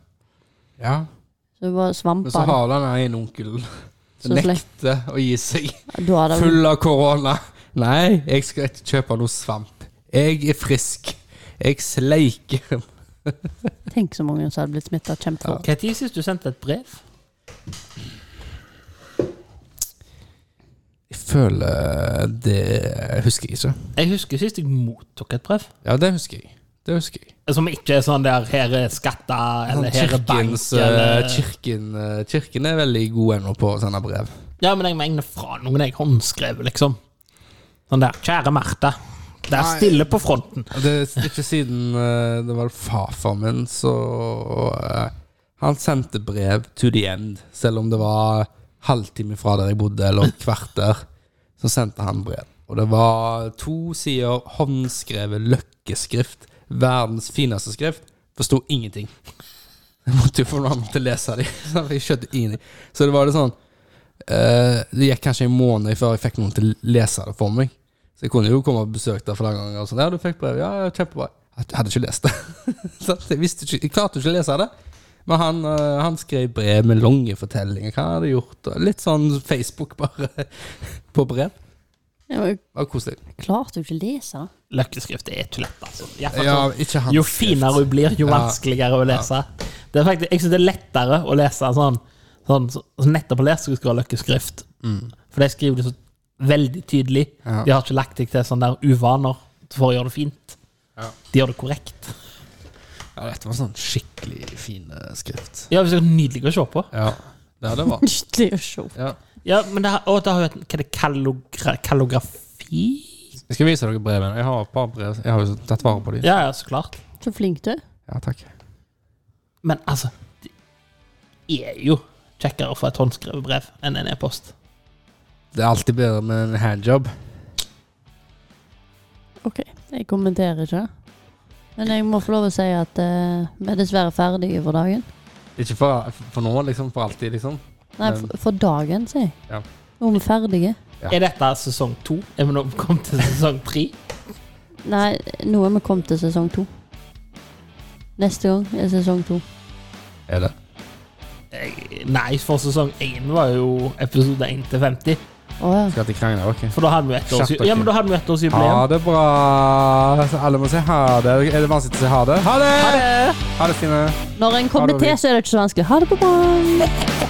S2: ja.
S1: Så det var
S2: Men så
S1: svampene.
S2: har den ene onkelen
S1: Så slei-
S2: nekter å gi seg.
S1: Da hadde det
S2: Full av korona. Nei, jeg skal ikke kjøpe noe svamp. Jeg er frisk. Jeg sleiker.
S1: Tenk så mange som hadde blitt smitta kjempefort.
S3: Når sist du sendte et brev?
S2: Jeg føler Det husker jeg ikke.
S3: Jeg husker sist jeg mottok et brev.
S2: Ja, det husker jeg. Det husker jeg.
S3: Som ikke er sånn der 'her er skatta', eller 'her er bank'.
S2: Kirkens, eh,
S3: Eller,
S2: kirken, eh, kirken er veldig god ennå på å sende brev.
S3: ja, men jeg mener fra noen jeg håndskrev, liksom. Sånn der 'Kjære Martha'. Vær
S2: Nei.
S3: stille på fronten.
S2: Det er ikke siden eh, det var farfar min, så eh, Han sendte brev to the end, selv om det var halvtime fra der jeg bodde, eller et kvarter. Så sendte han brev. Og det var to sider håndskrevet løkkeskrift. Verdens fineste skrift. Forsto ingenting. Jeg måtte jo få noen andre til å lese dem. Så jeg skjønte ingenting. Så det var litt sånn eh, Det gikk kanskje en måned før jeg fikk noen til å lese det for meg. Så Så jeg kunne jo komme og besøkt deg flere ganger. Og sånn, ja, du fikk brev. Ja, kjempebra. Jeg hadde ikke lest det. Så jeg, visste ikke, jeg klarte ikke å lese det. Men han, eh, han skrev brev med lange fortellinger. Hva han hadde gjort? og Litt sånn Facebook, bare. På brev.
S1: Ja, men
S2: Det var koselig.
S1: Klarte du ikke å lese?
S3: Løkkeskrift er ikke lett, altså. I hvert fall
S2: Ja,
S3: sånn-
S2: ikke han.
S3: Jo finere hun blir, jo
S2: Ja.
S3: vanskeligere å lese. Det er faktisk, jeg synes det er lettere å lese sånn, sånn så, så nettopp lese skal ha løkkeskrift. For de skriver det så veldig tydelig.
S2: Mm. Ja.
S3: De har ikke lagt deg til sånne der uvaner for å gjøre det fint.
S2: Ja.
S3: De gjør det korrekt.
S2: Ja, dette var sånn skikkelig fin eh, skrift.
S3: Ja, det er nydelig å se på.
S2: Ja, ja det var
S1: Det er jo show.
S2: ja.
S3: Ja, men det, har- og det har jo et Hva er det? Kallogra, kallografi?
S2: Jeg skal vise dere brevene. Jeg har et par brev. Jeg har jo tatt vare på dem.
S3: Ja, ja, så klart.
S1: Så flink du er.
S2: Ja, takk.
S3: Men altså, det er jo kjekkere å få et håndskrevet brev enn en e-post.
S2: Det er alltid bedre med en handjob.
S1: Ok, jeg kommenterer ikke. Men jeg må få lov å si at eh, vi er dessverre ferdige for dagen.
S2: Ikke for, for nå, liksom. For alltid, liksom.
S1: Nei,
S2: Men-
S1: for, for dagen, sier jeg.
S2: Ja.
S1: Nå er vi ferdige.
S2: Ja.
S3: Er dette sesong to? Er vi nå kommet til sesong tre?
S1: Nei, nå er vi kommet til sesong to. Neste gang er sesong to.
S2: Er det?
S3: Jeg- Nei, for sesong én var jo episode 1 til 50.
S1: Å ja.
S2: Skal til Kranger, ok.
S3: For da hadde vi jo ett års,
S2: Skjerp dere.
S3: ja, men da hadde vi ett års
S2: Ha
S3: jubileum.
S2: det bra. Alle må si ha det. Er det vanskelig å si ha det? Ha det! Ha det, Stine.
S1: Når en kommer
S2: det var
S1: til,
S2: vi.
S1: så er det ikke så vanskelig. Ha det på bånn!